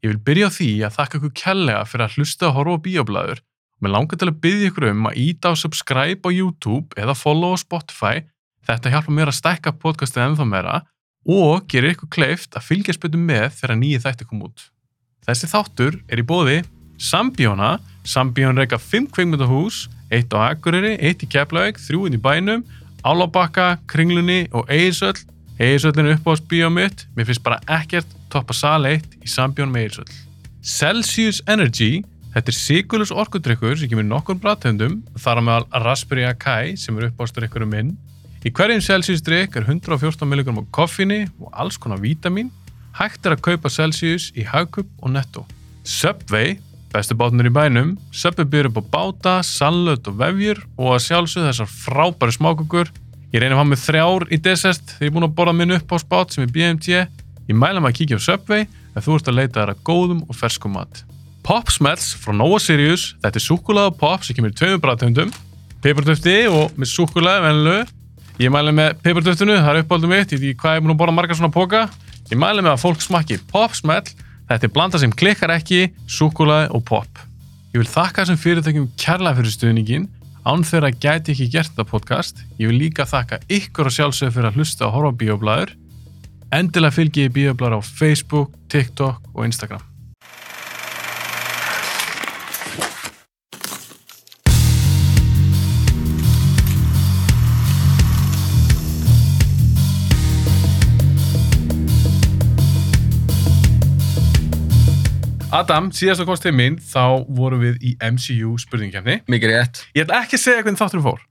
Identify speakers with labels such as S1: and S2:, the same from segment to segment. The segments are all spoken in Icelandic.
S1: Ég vil byrja á því að þakka ykkur kærlega fyrir að hlusta að horfa á bíoblæður og mér langar til að byrja ykkur um að íta á subscribe á YouTube eða follow á Spotify. Þetta hjálpa mér að stækka podcastið ennþá meira og gerir ykkur kleift að fylgjast betur með þegar nýju þætti kom út. Þessi þáttur er í bóði Sambíóna, Sambíón reyka 5 kveikmyndahús, 1 á Akureyri, 1 í Keflavík, 3 inn í bænum, Álabakka, Kringlunni og Eirsöll Egilsvöllin er uppáðs bíómiðt, mér finnst bara ekkert toppa sal 1 í sambjón með Egilsvöll. Celsius Energy, þetta er sigurljus orkudrykkur sem kemur nokkur bræðtöndum, þar á meðal Raspberry Akai sem er uppáðsdrykkurum minn. Í hverjum Celsius drykk er 114 mg koffinni og alls konar vítamin. Hægt er að kaupa Celsius í Hagkup og Netto. Subway, bestu bátnur í bænum, Subway byrjur upp á báta, sallöt og vefjur og að sjálfsögðu þessar frábæri smákukur Ég reynir að hafa með þrjár í desert þegar ég er búin að borða minn upp á spát sem er BMT. Ég mæla maður að kíkja á Subway ef þú ert að leita þær að góðum og ferskum mat. Pop Smells frá Nova Sirius. Þetta er súkkulaða pop sem kemur í tveimur bræðtöndum. Peppartöfti og með súkkulaði venlu. Ég mæla með peppartöftinu, það er uppáldum mitt. Ég veit ekki hvað ég er búin að borða margar svona póka. Ég mæla með að fólk smakki Pop Smell. Þetta er blanda sem klikkar ekki, súkkulaði og pop. Ég vil þakka þessum fyrirtækjum kærlega fyrir stuðningin. Án þeirra gæti ég ekki gert þetta podcast. Ég vil líka þakka ykkur og sjálfsögur fyrir að hlusta og horfa á bíoblæður. Endilega fylgi ég bíoblæður á Facebook, TikTok og Instagram. Adam, síðast að komast til minn, þá vorum við í MCU spurningkefni.
S2: Mikið rétt.
S1: Ég ætla ekki að segja hvernig þátturinn fór.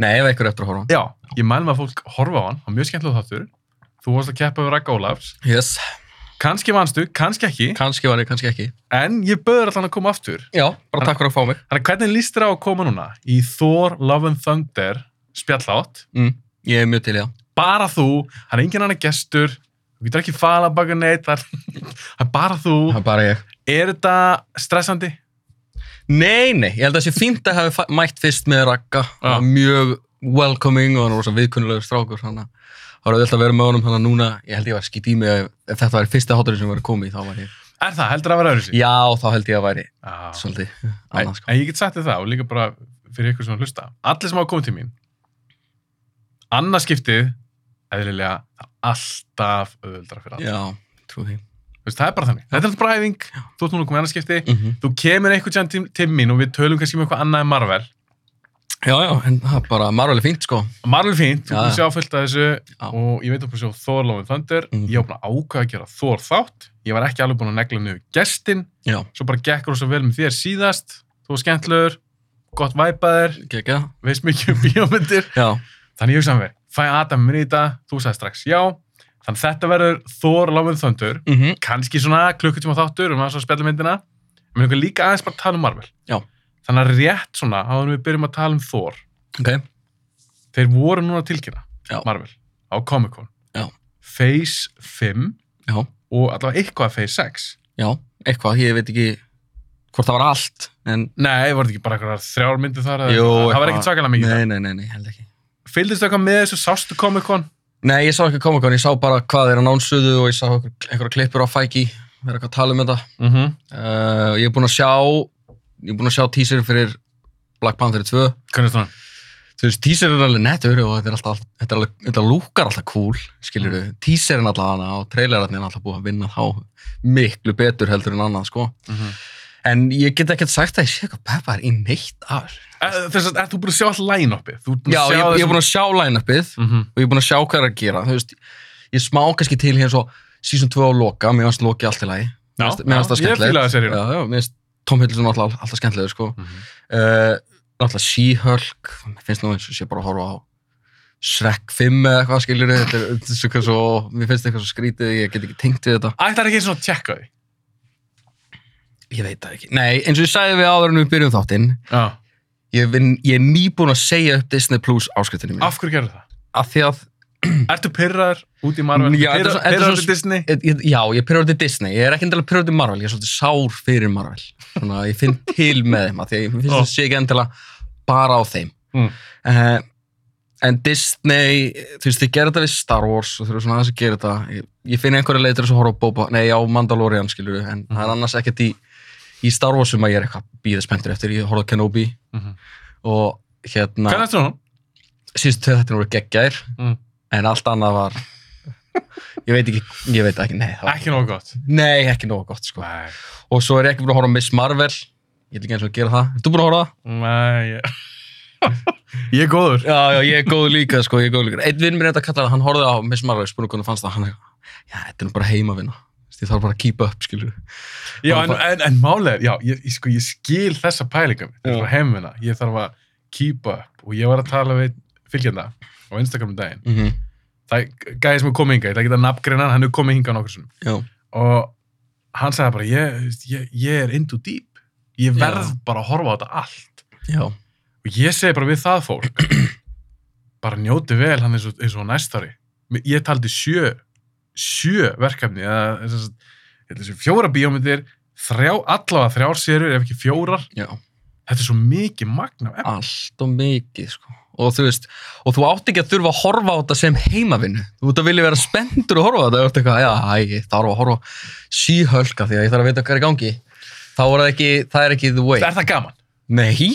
S2: Nei, ef eitthvað er eftir að horfa.
S1: Já. Ég mælum að fólk horfa á hann, hann var mjög skemmtilega þáttur. Þú varst að keppa við Ragga Ólafs.
S2: Yes.
S1: Kanski vannstu, kanski ekki,
S2: Kanski var ég, kannski ekki.
S1: en ég böður allan að koma aftur.
S2: Já, bara takk fyrir að fá mig.
S1: Þannig að hvernig líst þér á að koma núna í Thor Love and Thunder spjallátt?
S2: Mm. Ég er mjög til, já.
S1: Bara þú, hann er engin annar gestur, þú getur ekki fala baka neitt, það er- það er bara þú.
S2: Það er bara ég.
S1: Er þetta stressandi?
S2: Nei, nei, ég held að það sé fínt að hafa fa- mætt fyrst með Ragga.
S1: Já.
S2: Ja. Mjög welcoming og hann var svo viðkunnulegur strákur. Þannig að það var auðvitað að vera með honum. Þannig að núna, ég held ég var skýt í mig að ef þetta var fyrsta hoturinn sem var komið, þá var ég.
S1: Er það, heldur það að vera öðru sér?
S2: Já, þá held ég að væri
S1: Já.
S2: svolítið
S1: En,
S2: annað, sko.
S1: en ég get sagt þér það og líka bara fyrir ykkur sem að hlusta. Allir sem hafa komið til mín, annað skiptið, eðlilega, það er alltaf auðvöldra fyrir alla.
S2: Já, trú því.
S1: Þú veist, það er bara þannig. Þetta er alltaf bara æfing, þú ert núna komið annað skipti,
S2: Mm
S1: þú kemur einhvern tíðan til, til mín og við tölum kannski um eitthvað annað en Marvel.
S2: Já, já, en það er bara margulega fínt, sko.
S1: Marvel er fínt, þú
S2: Já,
S1: búið
S2: já.
S1: sjá fullt af þessu
S2: Já.
S1: og ég veit upp að sjá Thor Lófin Thunder,
S2: Mhm.
S1: ég var búin að ákvæða að gera Thor þátt, ég var ekki alveg búin að negla niður gestin,
S2: Já,
S1: svo bara gekk rosa vel með þér síðast, þú var skemmtlegur, gott væpaðir,
S2: gekk, já.
S1: veist mikið um bíómyndir,
S2: Já,
S1: þannig ég hugsaði með mér, fæ Adam minn í þetta, þú sagði strax já, þannig þetta verður Thor Lófin Thunder,
S2: mm
S1: kannski svona klukkutíma þáttur um aðeins að spjalla myndina en við erum líka aðeins bara að tala um Marvel
S2: Já.
S1: þannig að rétt svona áður en við byrjum að tala um Thor
S2: ok.
S1: þeir voru núna að tilkynna
S2: Já.
S1: Marvel á Comic Con
S2: Já.
S1: Phase 5
S2: Já.
S1: og allavega eitthvað Phase 6
S2: Já, eitthvað, ég veit ekki hvort það var allt, en
S1: nei, var þetta ekki bara eitthvað þrjár myndir þar eða
S2: Jú,
S1: eitthvað? það var
S2: eitthvað-
S1: ekkert svakalega mikið
S2: nei, nei, nei, nei, held ekki.
S1: fylgðist eitthvað með þessu sástu Comic Con
S2: Nei, ég sá ekki Comic Con, ég sá bara hvað þeir annánsuðu og ég sá einhver- einhverja klippur á Fæki, vera eitthvað að tala um þetta.
S1: mm -hmm.
S2: Uh, ég er búinn að sjá, ég er búinn að sjá teaser fyrir Black Panther 2.
S1: hvernig er svona
S2: Þú veist, teaser er alveg nettur og þetta er alltaf, þetta, er alveg, þetta lúkar alltaf cool, skilur þú. Teaserin alltaf hana og trailerarnir er alltaf búið að vinna þá miklu betur heldur en annað, sko.
S1: mm -hmm.
S2: En ég get ekkert sagt að ég sé eitthvað peppar í neitt af. þessu.
S1: Eh, þess að þú er búin að sjá all line-upið þú
S2: Já, ég, ég er búinn að sjá line-upið.
S1: mm -hmm.
S2: og ég er búinn að sjá hvað er að gera þú veist, ég smá kannski til hér svo season 2 á loka, mér fannst loki allt í lagi
S1: Já,
S2: Mér fannst- mér fannst það
S1: já, ég
S2: skemmtilegt.
S1: fílaði
S2: já,
S1: seríuna.
S2: já, mér finnst Tom Hiddleston alltaf, alltaf skemmtilegur sko. uh, náttúrulega She-Hulk mér finnst nú eins og sé bara að horfa á Shrek 5 eða eitthvað skiljur þetta er þetta er svo, eitthvað svo, mér finnst eitthvað svo skrítið ég get ekki tengt við þetta,
S1: ætlar ekki eins og að tjekka því
S2: ég veit það ekki nei, eins og ég sagði við áður en við byrjum þáttinn
S1: já.
S2: ég, vinn- ég er nýbúinn að segja upp Disney Plus áskriftinu mín
S1: af hverju gerðu það?
S2: af því að
S1: Ertu pyrraður út í Marvel?
S2: Mm, Já, þetta er
S1: Pirra-
S2: svo- þetta er
S1: pirraður
S2: svo-
S1: til Disney?
S2: Ég- Eh, ég- Já, ég er prjóðið Disney, ég er ekki endilega prjóðið Marvel, ég er svolítið sár fyrir Marvel Svona, ég finn til með þeim, af því að ég mér finnst
S1: Já.
S2: það sé ekki endilega bara á þeim
S1: Mm.
S2: Eh, En Disney, þú veist, þið gerir þetta við Star Wars og þau eru svona aðeins að gera þetta í ég finn einhverja leið til þess að horfa á Boba, nei á Mandalorian skilur en
S1: Mhm.
S2: það er annars ekkert í, í Star Wars sem að ég er eitthvað býða spenntur eftir, ég horfa á Kenobi
S1: Mhm.
S2: og hérna,
S1: Hvernig eftir hún?
S2: síðustu tveið þetta voru geggjær
S1: Mm.
S2: en allt annað var ég veit ekki, ég veit ekki, nei það var,
S1: Ekki nógu gott.
S2: nei, ekki nógu gott sko
S1: Nei.
S2: og svo er ég ekki búin að horfa á Miss Marvel ég vil ekki eins og að gera það, ertu búin að horfa á það?
S1: Nei. ég- Ég er góður.
S2: Já, já, ég er góð líka, sko, ég er góð líka. Einn vinn mér þetta kallaði, hann horfði á Miss Marvel, spurði hvernig fannst það, hann er, já, þetta er nú bara heimavinna, Þú veist, ég þarf bara að keepa upp, skilur.
S1: Já, en, en, en málega, já, ég, ég, sko, ég skil þessa pælinga mitt.
S2: Já.
S1: Ég þarf að heimina, ég þarf að keep up og ég var að tala við fylgjanda á Instagram um daginn.
S2: Mm
S1: Það er gæði sem er komið hingað, ég ætla ekki að nafngreina hann, hann er komið hingað nokkur sinnum.
S2: Já,
S1: og hann sagði bara ég, þú veist, ég, ég er into deep ég verð
S2: Já.
S1: bara að horfa á þetta allt
S2: já,
S1: og ég segi bara við það fólk bara njóti vel hann eins og, eins og næstari ég taldi sjö sjö verkefni eða, eða, eða, eða, fjóra bíómyndir þrjá, allavega þrjár sérur ef ekki fjórar
S2: já,
S1: þetta er svo mikið magna efni.
S2: allt og mikið, sko. Og þú veist, og þú átt ekki að þurfa að horfa á þetta sem heimavinnu. Þú ert að vilja vera spendur að horfa á þetta, þú ert eitthvað, já, hæ, ég þarf að horfa á síhölka því að ég þarf að vita hvað er í gangi. Þá er það ekki, það er ekki the way.
S1: er það gaman
S2: Nei,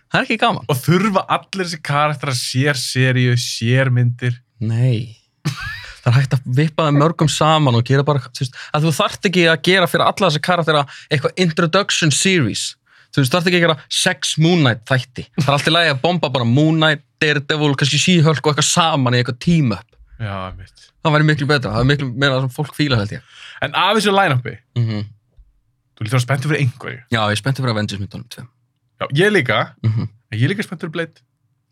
S2: það er ekki gaman.
S1: og þurfa allir þessi karakterar sér seríu, sér myndir
S2: Nei. Það er hægt að vippa það mörgum saman og gera bara, þú veist, að þú þarft ekki að gera fyrir alla þessa karaktera eitthvað introduction series. Þú veist, þarft ekki að gera sex Moon Knight þætti. Það er alltaf lægi að bomba bara Moon Knight, Daredevil, kannski She-Hulk og eitthvað saman í eitthvað team-up.
S1: já, mitt
S2: Það væri miklu betra, það er miklu meira sem fólk fíla held ég.
S1: en af þessu line-upi,
S2: Mm
S1: þú lítur að spenntu fyrir einhverju
S2: Já, ég er spennt fyrir Avengers myndunum tveim.
S1: já, ég líka,
S2: Mm -hmm.
S1: En ég er líka spenntur um bleitt.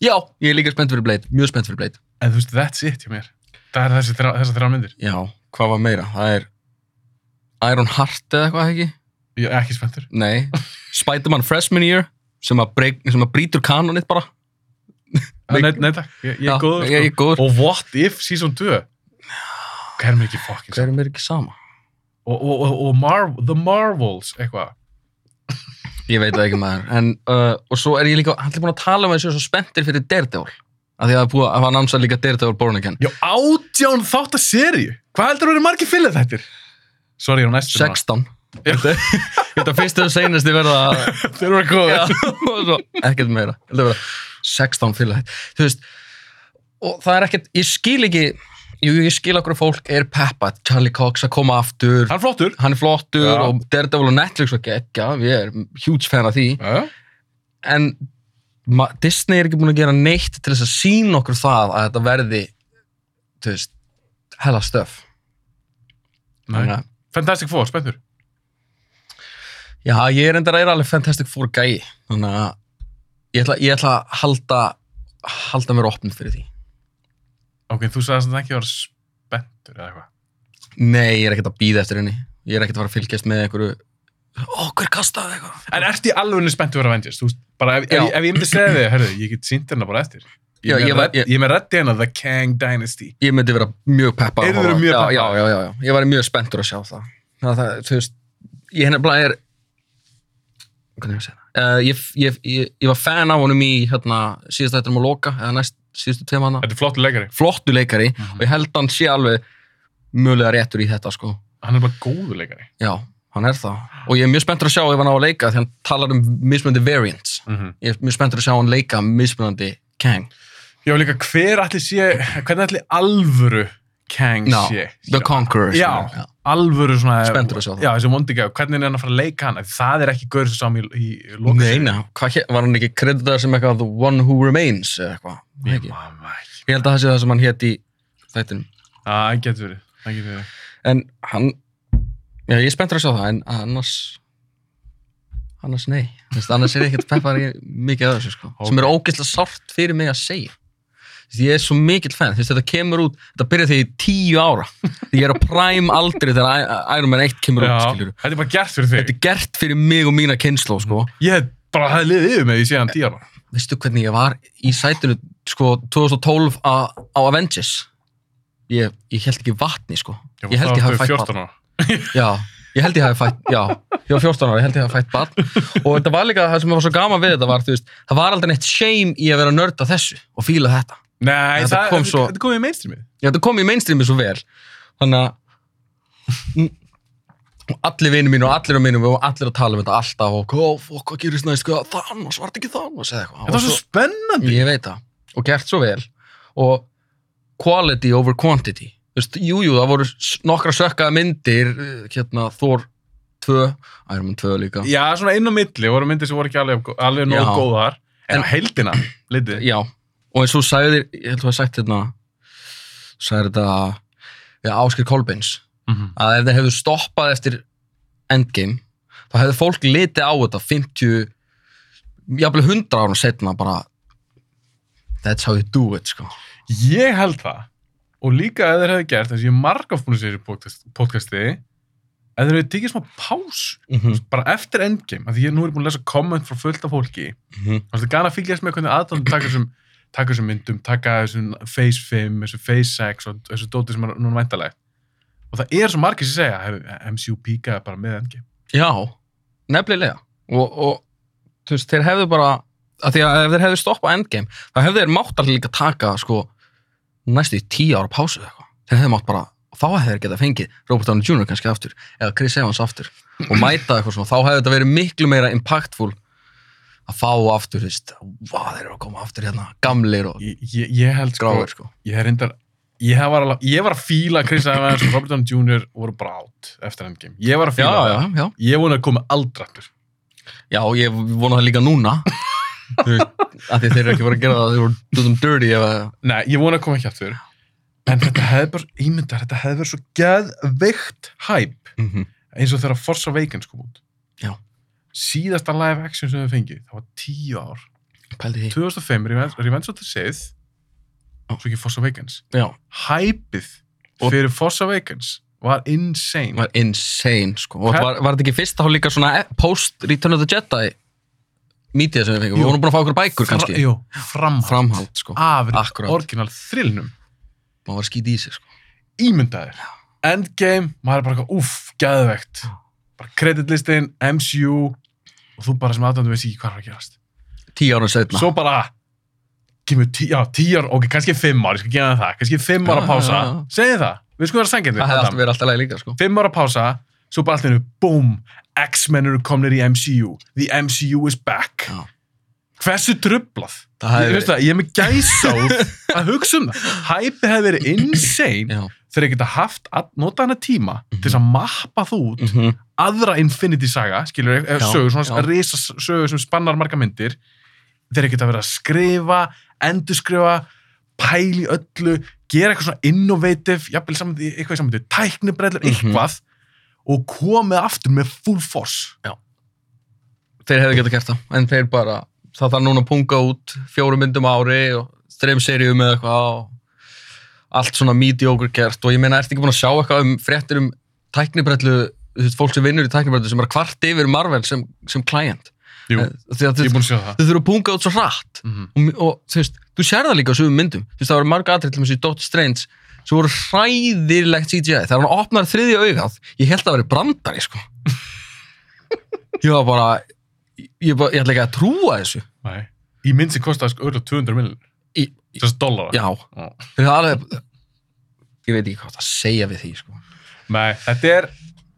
S2: Já, ég er líka spennt fyrir Blade, mjög spennt fyrir Blade.
S1: En þú veist, that's it hjá mér. Það er þessi, þrjá- þessar þrjá myndir.
S2: Já, hvað var meira? Það er Iron Heart eða eitthvað ekki?
S1: Ég er ekki spenntur.
S2: Nei, Spider-Man Freshman Year sem að, breyk, sem að brítur kanonið bara
S1: Nei, nei, nei takk. Ég, ég
S2: Já,
S1: er góður. sko.
S2: ég, ég er góður. sko.
S1: Og what if season 2? Hvað er mér ekki fucking
S2: Hver
S1: saman?
S2: er mér ekki sama?
S1: Og, og, og, og Marv The Marvels, eitthvað.
S2: Ég veit það ekki maður en, uh, og svo er ég líka, hann er búin að tala um að ég séu svo spenntir fyrir Daredevil af því að það er búið að hann námsa líka Daredevil Born Again
S1: Já, átján þátt að seríu. Hvað heldur þú eru margir fyllir þettir? Sorry, ég er á næstu.
S2: 16
S1: Já.
S2: Þetta þetta fyrstu og seinasti verða
S1: Þeir eru að
S2: Já,
S1: góða.
S2: og svo, ekkert meira Þetta verða 16 fyrir þetta þú veist, og það er ekkert ég skil ekki, jú, ég skil okkur fólk er peppa, Charlie Cox að koma aftur
S1: Hann er flottur.
S2: hann er flottur
S1: Já.
S2: og Daredevil og Netflix og geggja, við erum huge fan af því
S1: Já,
S2: en ma- Disney er ekki búin að gera neitt til þess að sína okkur það að þetta verði þú veist, hella stöf
S1: Nei. Fantastic Four, spenntur.
S2: já, ég er endara er alveg Fantastic Four gæi þannig að ég ætla, ég ætla að halda halda mér opnum fyrir því
S1: Ok, þú sagðist að það ekki var spenntur eða eitthvað.
S2: nei, ég er ekkert að býða eftir henni ég er ekkert að fara að fylgjast með einhverju ó, hver kastaði eitthvað
S1: En ert í alveg spenntu fyrir Avengers? Þú veist, bara ef,
S2: Já.
S1: ef, ef ég myndi segja þig, hörðu, ég get sínt hérna bara eftir. Ég,
S2: Já,
S1: er með
S2: ég var-
S1: redd-
S2: ég-
S1: ég er með reddi hérna, The Kang Dynasty.
S2: ég myndi vera mjög peppar að
S1: Yrðirðu
S2: horfa á það.
S1: mjög
S2: já,
S1: peppaður?
S2: já, já, já, já, ég væri mjög spenntur að sjá það þannig að það, þú veist ég henni bara er hvernig er ég að segja það uh, ég, ég, ég, ég var fan af honum í hérna, síðast þetta um að loka eða næst síðustu tveim hana
S1: Þetta er flottur leikari.
S2: flottu leikari og ég held hann sé alveg mögulega réttur í þetta sko
S1: Hann er bara góður leikari.
S2: já, hann er það og ég er mjög spenntur að sjá ef hann á að leika því hann talar um mismunandi variants ég er mjög spenntur að sjá hann leika mismunandi Kang
S1: Já, líka hver ætli sé, hvernig ætli alvöru Kang
S2: no,
S1: sé?
S2: The Conqueror
S1: Já.
S2: skilur,
S1: Alvöru svona...
S2: Spenntur að sjá það.
S1: Já, þessi vondiga, hvernig er hann að fara að leika hann? Það er ekki gaur sem sá mér í, í lokum.
S2: Nei, nei, hvað hér, var hann ekki kreditaður sem eitthvað The One Who Remains eða eitthvað? Var það
S1: Ég
S2: ekki?
S1: man það ekki.
S2: Ég held að það sé það sem hann hétt í þættinum.
S1: Það getur verið. Það getur verið.
S2: En hann, já ég er spenntur að sjá það, en annars, annars nei. Þú veist, annars er ég ekkert peppar í mikið af þessu sko,
S1: Ok.
S2: sem er ógeðslega sárt fyrir mig að segja. Þú veist, Ég er svo mikill fenn, þú veist, þetta kemur út, þetta byrjar þegar ég er tíu ára. Ég er á prime aldri þegar I- Iron Man 1 kemur út,
S1: Já,
S2: skilur.
S1: þetta er bara gert fyrir þig.
S2: Þetta er gert fyrir mig og mína kynnslóð, sko.
S1: Ég hef bara hafði liðið yfir með því síðan tíu ára.
S2: veistu hvernig ég var í sætinu sko 2012 a, á Avengers ég, ég held ekki vatni sko
S1: Já,
S2: ég held
S1: þá
S2: ég hafi
S1: áttu
S2: fætt
S1: 14
S2: vatn
S1: ára.
S2: já, ég held ég hafi fætt já, ég var 14 ára, ég held ég hafi fætt vatn og þetta var líka það sem var svo gaman við þetta var þú veist, það var aldrei neitt shame í að vera nörd á þessu og fíla þetta
S1: Nei,
S2: Þetta
S1: það,
S2: kom
S1: þetta
S2: svo-
S1: þetta kom í mainstreamið.
S2: já, þetta kom í mainstreami svo vel þannig að og allir vinir mínu og allir á mínum og allir að tala um þetta alltaf og oh, fuck, hvað gerist næst, hvað, Thanos, var þetta ekki Thanos eða eitthvað.
S1: Þetta var
S2: Og
S1: svo spennandi.
S2: Ég veit það og gert svo vel og quality over quantity Þú veist, Jújú, jú, það voru s- nokkra sökkaða myndir eh, hérna Thor 2 Iron Man 2 líka
S1: Já, svona inn á milli voru myndir sem voru ekki alveg, alveg nóg
S2: Já.
S1: góðar. En,
S2: En-
S1: á heildina, litið.
S2: Já, og eins og þú sagðir ég held að þú hafði sagt hérna sagðir þetta við Áskir Kolbeins
S1: Mm -hmm.
S2: að ef þeir hefðu stoppað eftir Endgame þá hefðu fólk litið á þetta 50 jafnvel 100 árum setna bara that's how you do it sko
S1: Ég held það og líka ef þeir hefði gert þess að ég er margaf búin að segja í podcast, podcasti ef þeir hefði tekið smá pás
S2: mm -hmm.
S1: bara eftir endgame, af því ég nú er búin að lesa komment frá fullt af fólki,
S2: Mm
S1: þannig að það gana að fylgjast með hvernig aðdóðan taka þessum taka þessum myndum, taka þessum face 5, þessum face 6 og þessu dóti sem er núna væntalegt og það er svo margir sem segja "Heyrðu, MCU píkaði bara með endgame
S2: Já, nefnilega og, og þú veist, þeir hefðu bara að því að ef þeir hefðu stoppað endgame þá hefðu þeir mátt alveg líka taka sko, næstu í tíu ára pásu eða eitthvað þeir hefðu mátt bara, þá hefðu þeir geta fengið Robert Downey Jr. kannski aftur eða Chris Evans aftur og mæta eitthvað svona, þá hefðu þetta verið miklu meira impactful að fá aftur, þú veist, vá þeir eru að koma aftur hérna, gamlir og
S1: ég, ég, ég held sko,
S2: gráir sko
S1: ég er reyndar ég var, alveg, ég var að fíla að Chris Evans og Robert Downey Jr. voru bara átt eftir endgame, ég var að
S2: Já,
S1: fíla það.
S2: já, já,
S1: ég vona að koma aldrei aftur
S2: já, ég vona það líka núna Þú veist, af því þeir eru ekki voru að gera það, þeir voru do them dirty ef að
S1: Nei, ég vona að koma ekki aftur En þetta hefði bara, ímyndar, þetta hefði verið svo geðveikt hæp
S2: Mhm.
S1: eins og þegar Forza Awakens kom út
S2: Já.
S1: Síðasta live action sem við fengið það var tíu ár
S2: Pældi því.
S1: 2005, Revenge Revenge of the Sith
S2: Já.
S1: svo ekki Forza Awakens
S2: Já,
S1: Hæpið
S2: Og-
S1: fyrir Forza Awakens var insane
S2: var insane, sko. Og
S1: Hvern-
S2: var, var þetta ekki fyrst þá líka svona e- post Return of the Jedi mítið sem við fengum?
S1: Jú.
S2: Við vorum búin að fá okkur bækur kannski.
S1: Jú, framhald,
S2: Framhald, sko.
S1: af
S2: Akkurát.
S1: orginal þrilnum
S2: Má var skýt í sig, sko.
S1: ímyndaðir Endgame, maður er bara eitthvað, uff, geðvegt bara kreditlistin, MCU og þú bara sem aðdöndu veist ekki hvað er að gerast
S2: Tíu ára setna.
S1: svo bara kemur tí, já, tíu ára, ok, kannski fimm ára, ég skal gera það kannski fimm ára
S2: Já,
S1: pása,
S2: já, já.
S1: segið það við sko vera
S2: það hefði alltaf
S1: sangjarnir
S2: verið alltaf leið líka, sko.
S1: fimm ára pása, svo bara allir boom, X-Men eru komnir í MCU the MCU is back
S2: Já.
S1: hversu trublað
S2: Það hefði
S1: ég, veistu það, ég er með gæsáð að hugsa um það, hæpi hefði verið insane
S2: Já.
S1: þeir geta haft að nota hana tíma til
S2: Mhm.
S1: þess að mappa þú út aðra Infinity saga, skilur ég,
S2: Já,
S1: sögur, svona
S2: já.
S1: risa sögur sem spannar marga myndir þeir geta verið að skrifa endurskrifa, pæli öllu gera eitthvað svona innovative jafnvel saman, eitthvað saman, tæknibrellur
S2: Mhm.
S1: eitthvað og komið aftur með full force
S2: Þeir hefði getað gert það. En þeir bara, það þarf núna að punga út fjórum myndum á ári og þreim seríum eða eitthvað og allt svona mediocre gert. Og ég meina, ertu ekki búin að sjá eitthvað um fréttir um tæknibrellu, þú veist, fólk sem vinnur í tæknibrellu sem bara kvart yfir Marvel sem, sem client.
S1: Jú,
S2: Eh, Því að
S1: ég
S2: þau
S1: er búin að sjá það
S2: þau þurfa að punga út svo hratt
S1: mm -hmm.
S2: og, og þú veist, þú sér það líka á sögum myndum þú veist, það voru marga atrið til þessu í Doctor Strange sem voru hræðilegt CGI þegar hann opnar þriðja augað, ég held að vera brandari sko ég var bara ég, bara, ég ætla ekki að trúa þessu
S1: Í mynd sem kostaði sko öll 200 millir
S2: Í- í-
S1: þess að dollara
S2: já,
S1: Já.
S2: það er alveg ég veit ekki hvað það segja við því sko
S1: Nei, þetta er,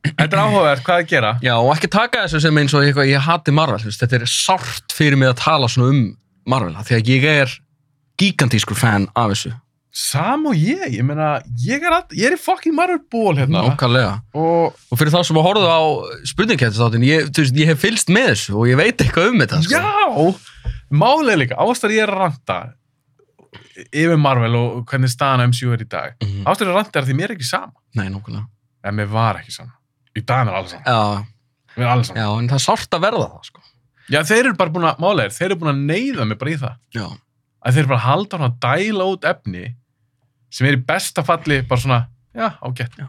S1: þetta er áhugavert hvað að gera
S2: já, og ekki taka þessu sem eins og eitthvað ég hati Marvel, þú veist, þetta er sárt fyrir mig að tala svona um Marvel, af því að ég er gigantískur fan af þessu,
S1: Sam og ég, ég meina, ég er, all, ég er í fucking Marvel ból hérna
S2: nákvæmlega
S1: og
S2: Og fyrir þá sem að horfa á spurningkjæftistáttin, ég, þú veist, ég hef fylst með þessu og ég veit eitthvað um þetta, sko.
S1: já, málega líka, ástæður ég er að ranta yfir Marvel og hvernig staðan á MCU er í dag.
S2: Mhm.
S1: Ástæður ég er að ranta er því mér er ekki sama,
S2: Nei, nákvæmlega.
S1: en mér var ekki sama. Í dag er mér alveg sama,
S2: Já,
S1: mér er alveg sama.
S2: já, en það er sárt að verða það, sko.
S1: Já, þeir eru bara búin að, málega, þeir eru búin að neyða mig bara í það.
S2: Já.
S1: Að þeir eru bara að halda hann að dæla út efni sem er í besta falli bara svona, já, ágætt.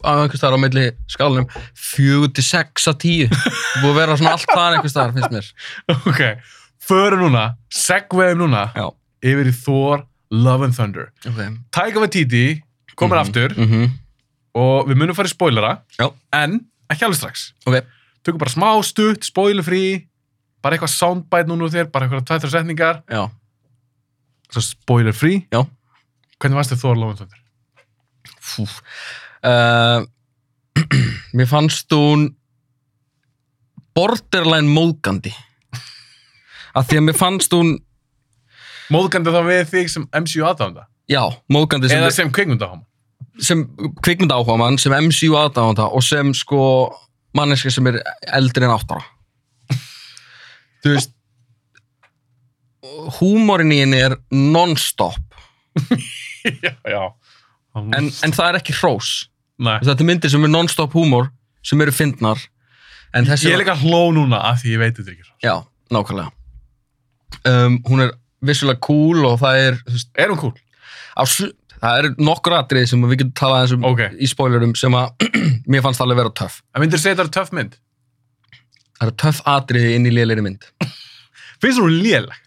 S2: Á einhvers staðar á milli skálanum, fjögur til sex að tíu. Það búið að vera svona allt þar einhvers staðar, finnst mér.
S1: ok, förum núna, segveðum núna
S2: Já.
S1: yfir í Thor, Love and Thunder.
S2: Ok.
S1: Taika Waititi komur
S2: Mhm,
S1: aftur
S2: mhm.
S1: og við munum fara í spoilera
S2: Já.
S1: en ekki alveg strax
S2: Ok.
S1: tökum bara smá stutt, spoilerfrí bara eitthvað soundbite núna úr þér bara eitthvað tvættur setningar
S2: Já.
S1: svo spoilerfrí
S2: Já.
S1: hvernig varst þér Thor Lófandsvöndur?
S2: Fúf. uh, Mér fannst hún borderline móðgandi að því að mér fannst hún
S1: Móðgandi þá við þig sem MCU aðdáðanda
S2: já, móðgandi sem,
S1: eða sem kvikmyndaháma
S2: sem kvikmynda áhuga mann sem MCU aðdáðanda og sem sko manneska sem er eldri en áttara þú veist húmórin í henni er non-stop
S1: Já, já
S2: en, en það er ekki hrós
S1: Nei,
S2: þetta er myndir sem er non-stop húmór sem eru fyndnar en þessi
S1: ég er líka hló núna af því ég veit þetta ekki
S2: já, nákvæmlega um, hún er vissulega cool og það er þú veist,
S1: Er hún cool?
S2: á, su- það eru nokkur atrið sem við getum talað eins um
S1: Ok.
S2: í spoilerum sem að mér fannst alveg vera töff
S1: En myndir segja þetta er töff mynd?
S2: það eru töff atriði inn í lélegri mynd
S1: Finnst hún léleg?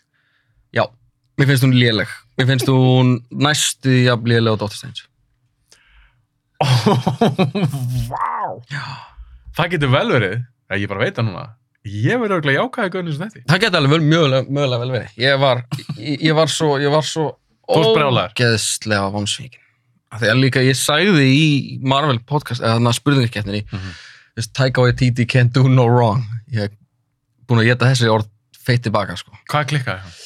S2: já, mér finnst hún léleg mér finnst hún næstu jafn léleg og Dr. Strange
S1: Vá Það getur vel verið að ég bara veit það núna Ég verður örgulega jákvæði gönni sem þetta
S2: það geti alveg vel- mögulega, mögulega vel verið ég var, ég, ég var svo ég var svo
S1: Þú varst brjálaður.
S2: ógeðslega vonsvíkin þegar líka ég sagði í Marvel podcast eða þannig að spurningarkeppninni
S1: Mhm.
S2: This Taika Waititi can't do no wrong ég hef búin að geta þessi orð feitt tilbaka sko
S1: Hvað klikkaði hann?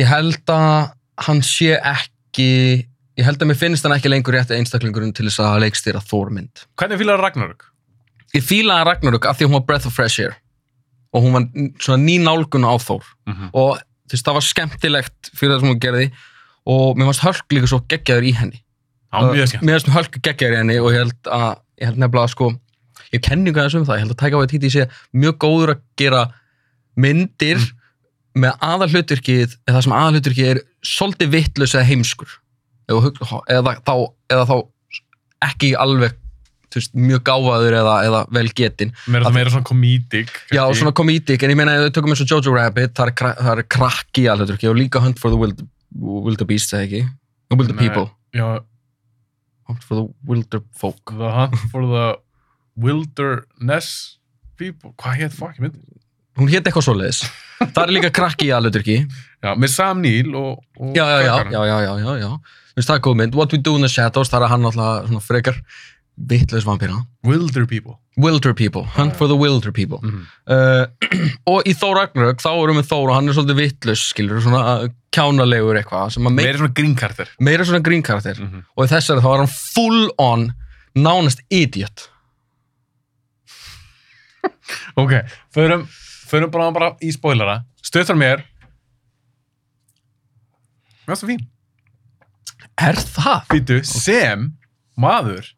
S2: ég held að hann sé ekki ég held að mér finnst hann ekki lengur rétti einstaklingurinn til þess að leikstýra Thormynd
S1: Hvernig fílar Ragnarök?
S2: ég fílaði Ragnarök af því að hún var breath of fresh air og hún var n- svona ný nálgun á Thor
S1: Mhm.
S2: og þú veist, það var skemmtilegt fyrir það sem hún gerði og mér fannst Hölk líka svo geggjaður í henni
S1: Á mjög skemmt
S2: mér fannst Hölk geggjaður í henni og ég held að ég held nefnilega að sko ég hef kenningu aðeins um það, ég held að Taika Waititi sé mjög góður að gera myndir
S1: Mm.
S2: með aðalhlutverkið eða það sem aðalhlutverkið er svolítið vittlus eða heimskur eða, hug- eða, þá, eða þá ekki alveg þú veist, mjög gáfaður eða, eða vel getinn
S1: Mér er það meira svona komítik
S2: Já, og svona komítik, en ég meina ef við tökum eins og Jojo Rabbit, það er, kra- það er krakki alveg ekki, og líka Hunt for the Wild, Wilder Beast, eða ekki? Og Wilder
S1: Nei.
S2: People.
S1: Já,
S2: Hunt for the Wilder Folk.
S1: The Hunt for the Wilderness People Hvað hétt fokki mynd?
S2: Hún hétt eitthvað svoleiðis. það er líka krakki alveg ekki.
S1: Já, með Sam Neill og, og
S2: Já, já, já,
S1: krakkanum.
S2: já, já, já, já, já. Þú veist, það er góð mynd. What We Do in the Shadows, það er hann alltaf svona frekar vitlaus vampíra.
S1: Wilder People
S2: Wilder People, Hunt
S1: Já.
S2: for the Wilder People.
S1: mm.
S2: Uh, og í Þór Ragnarök, þá erum við Þór og hann er svolítið vitlaus, skilur, svona uh, kjánalegur eitthvað, sem að meira,
S1: Meira svona grínkartir
S2: meira svona grínkarakter.
S1: mm -hmm.
S2: og í þessari þá var hann full on nánast idiot
S1: Ok, förum, förum bara, bara í spoilera Stöðar mér Mér finnst það fín
S2: er það?
S1: Býtu, sem maður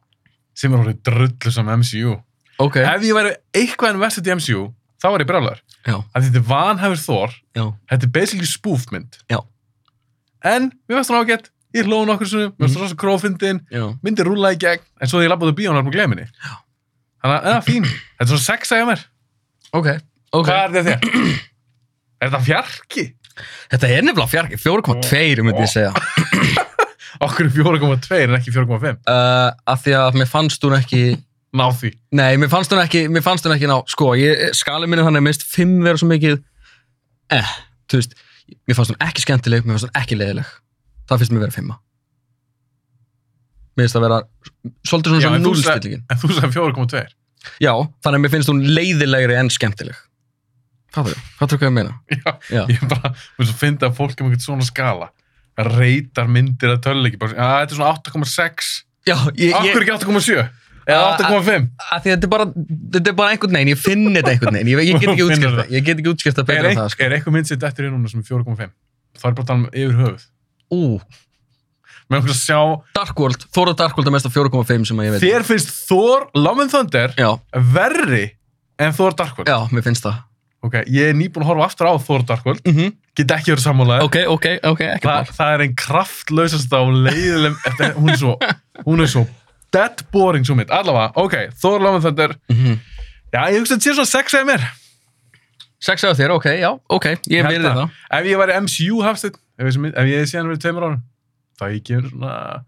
S1: sem er orðið drullu sem MCU
S2: ok
S1: Ef ég væri eitthvað en verset í MCU þá var ég brjálæður
S2: já,
S1: að þetta er vanhæfur þór
S2: já,
S1: Þetta er basically spoofmynd.
S2: Já.
S1: En mér varst það ágætt, ég hlóði nokkur svona, mér varst það rosa grófindin,
S2: já.
S1: myndi rúlaði gegn, en svo þegar ég labbaði á bíónar með gleminni. Já. Þannig að, eða fín, þetta er svona sexa hjá mér.
S2: ok, okay.
S1: Hvað er þetta þér? er þetta fjarki?
S2: þetta er nefnilega fjarki 4,2 myndi ég segja
S1: Okkur er 4,2 en ekki 4,5.
S2: uh, af því að mér fannst hún ekki
S1: Ná því.
S2: nei, mér fannst hún ekki, mér fannst hún ekki ná sko, ég, skali minni þannig að mist 5 vera svo mikið eh, þú veist mér fannst hún ekki skemmtileg, mér fannst hún ekki leiðileg það finnst mér vera 5 mér finnst það vera
S1: Já,
S2: svolítið svona
S1: en
S2: sem
S1: þú sagði-
S2: núlstillingin
S1: En þú sagði 4,2.
S2: Já, þannig að mér finnst hún leiðilegri en skemmtileg. Fattur, fattur hvað ég meina?
S1: Já.
S2: Já.
S1: Ég bara, mér svo fyndi að fólk er með eitthvað svona skala. Reitar myndir að töluleiki. Bara, að þetta er svona 8,6.
S2: Já, ég,
S1: Okkur
S2: ég,
S1: ekki 8,7. Eða
S2: Ah,
S1: 8,5.
S2: að því að þetta er bara, þetta er bara einhvern veginn, ég finn þetta einhvern veginn, ég, ég get ekki
S1: Þú finnur
S2: útskýrt það,
S1: það.
S2: ég get ekki útskýrt það
S1: er,
S2: betur en
S1: ein,
S2: það, sko.
S1: er eitthvað mynd sem þetta er núna sem er 4,5 það er bara að tala um yfir höfuð
S2: Ú,
S1: með okkur að sjá,
S2: Dark World, Thor og Dark World er mest af 4,5 sem að ég veit.
S1: þér finnst Thor Love and Thunder
S2: Já,
S1: verri en Thor Dark World
S2: já, mér finnst það.
S1: ok, ég er nýbúin að horfa aftur á Thor Dark World
S2: Mm -hmm.
S1: get ekki verið sammálaðið
S2: Ok, ok, ok, ekki
S1: Þa,
S2: bara.
S1: það er einn kraftlausast á leiðilegum þetta- hún er svo, hún er svo dead boring svo mynd, allavega, ok Thor Love and Thunder,
S2: Mm
S1: já ég hugsa að þetta sé svona 6 eða mér
S2: Sex af þér, ok, já, ok, ég
S1: Ég held
S2: verði
S1: það.
S2: það.
S1: ef ég væri MCU hafstinn ef, þessi mynd- ef ég sé hann verið tveimur árum þá ég gefur svona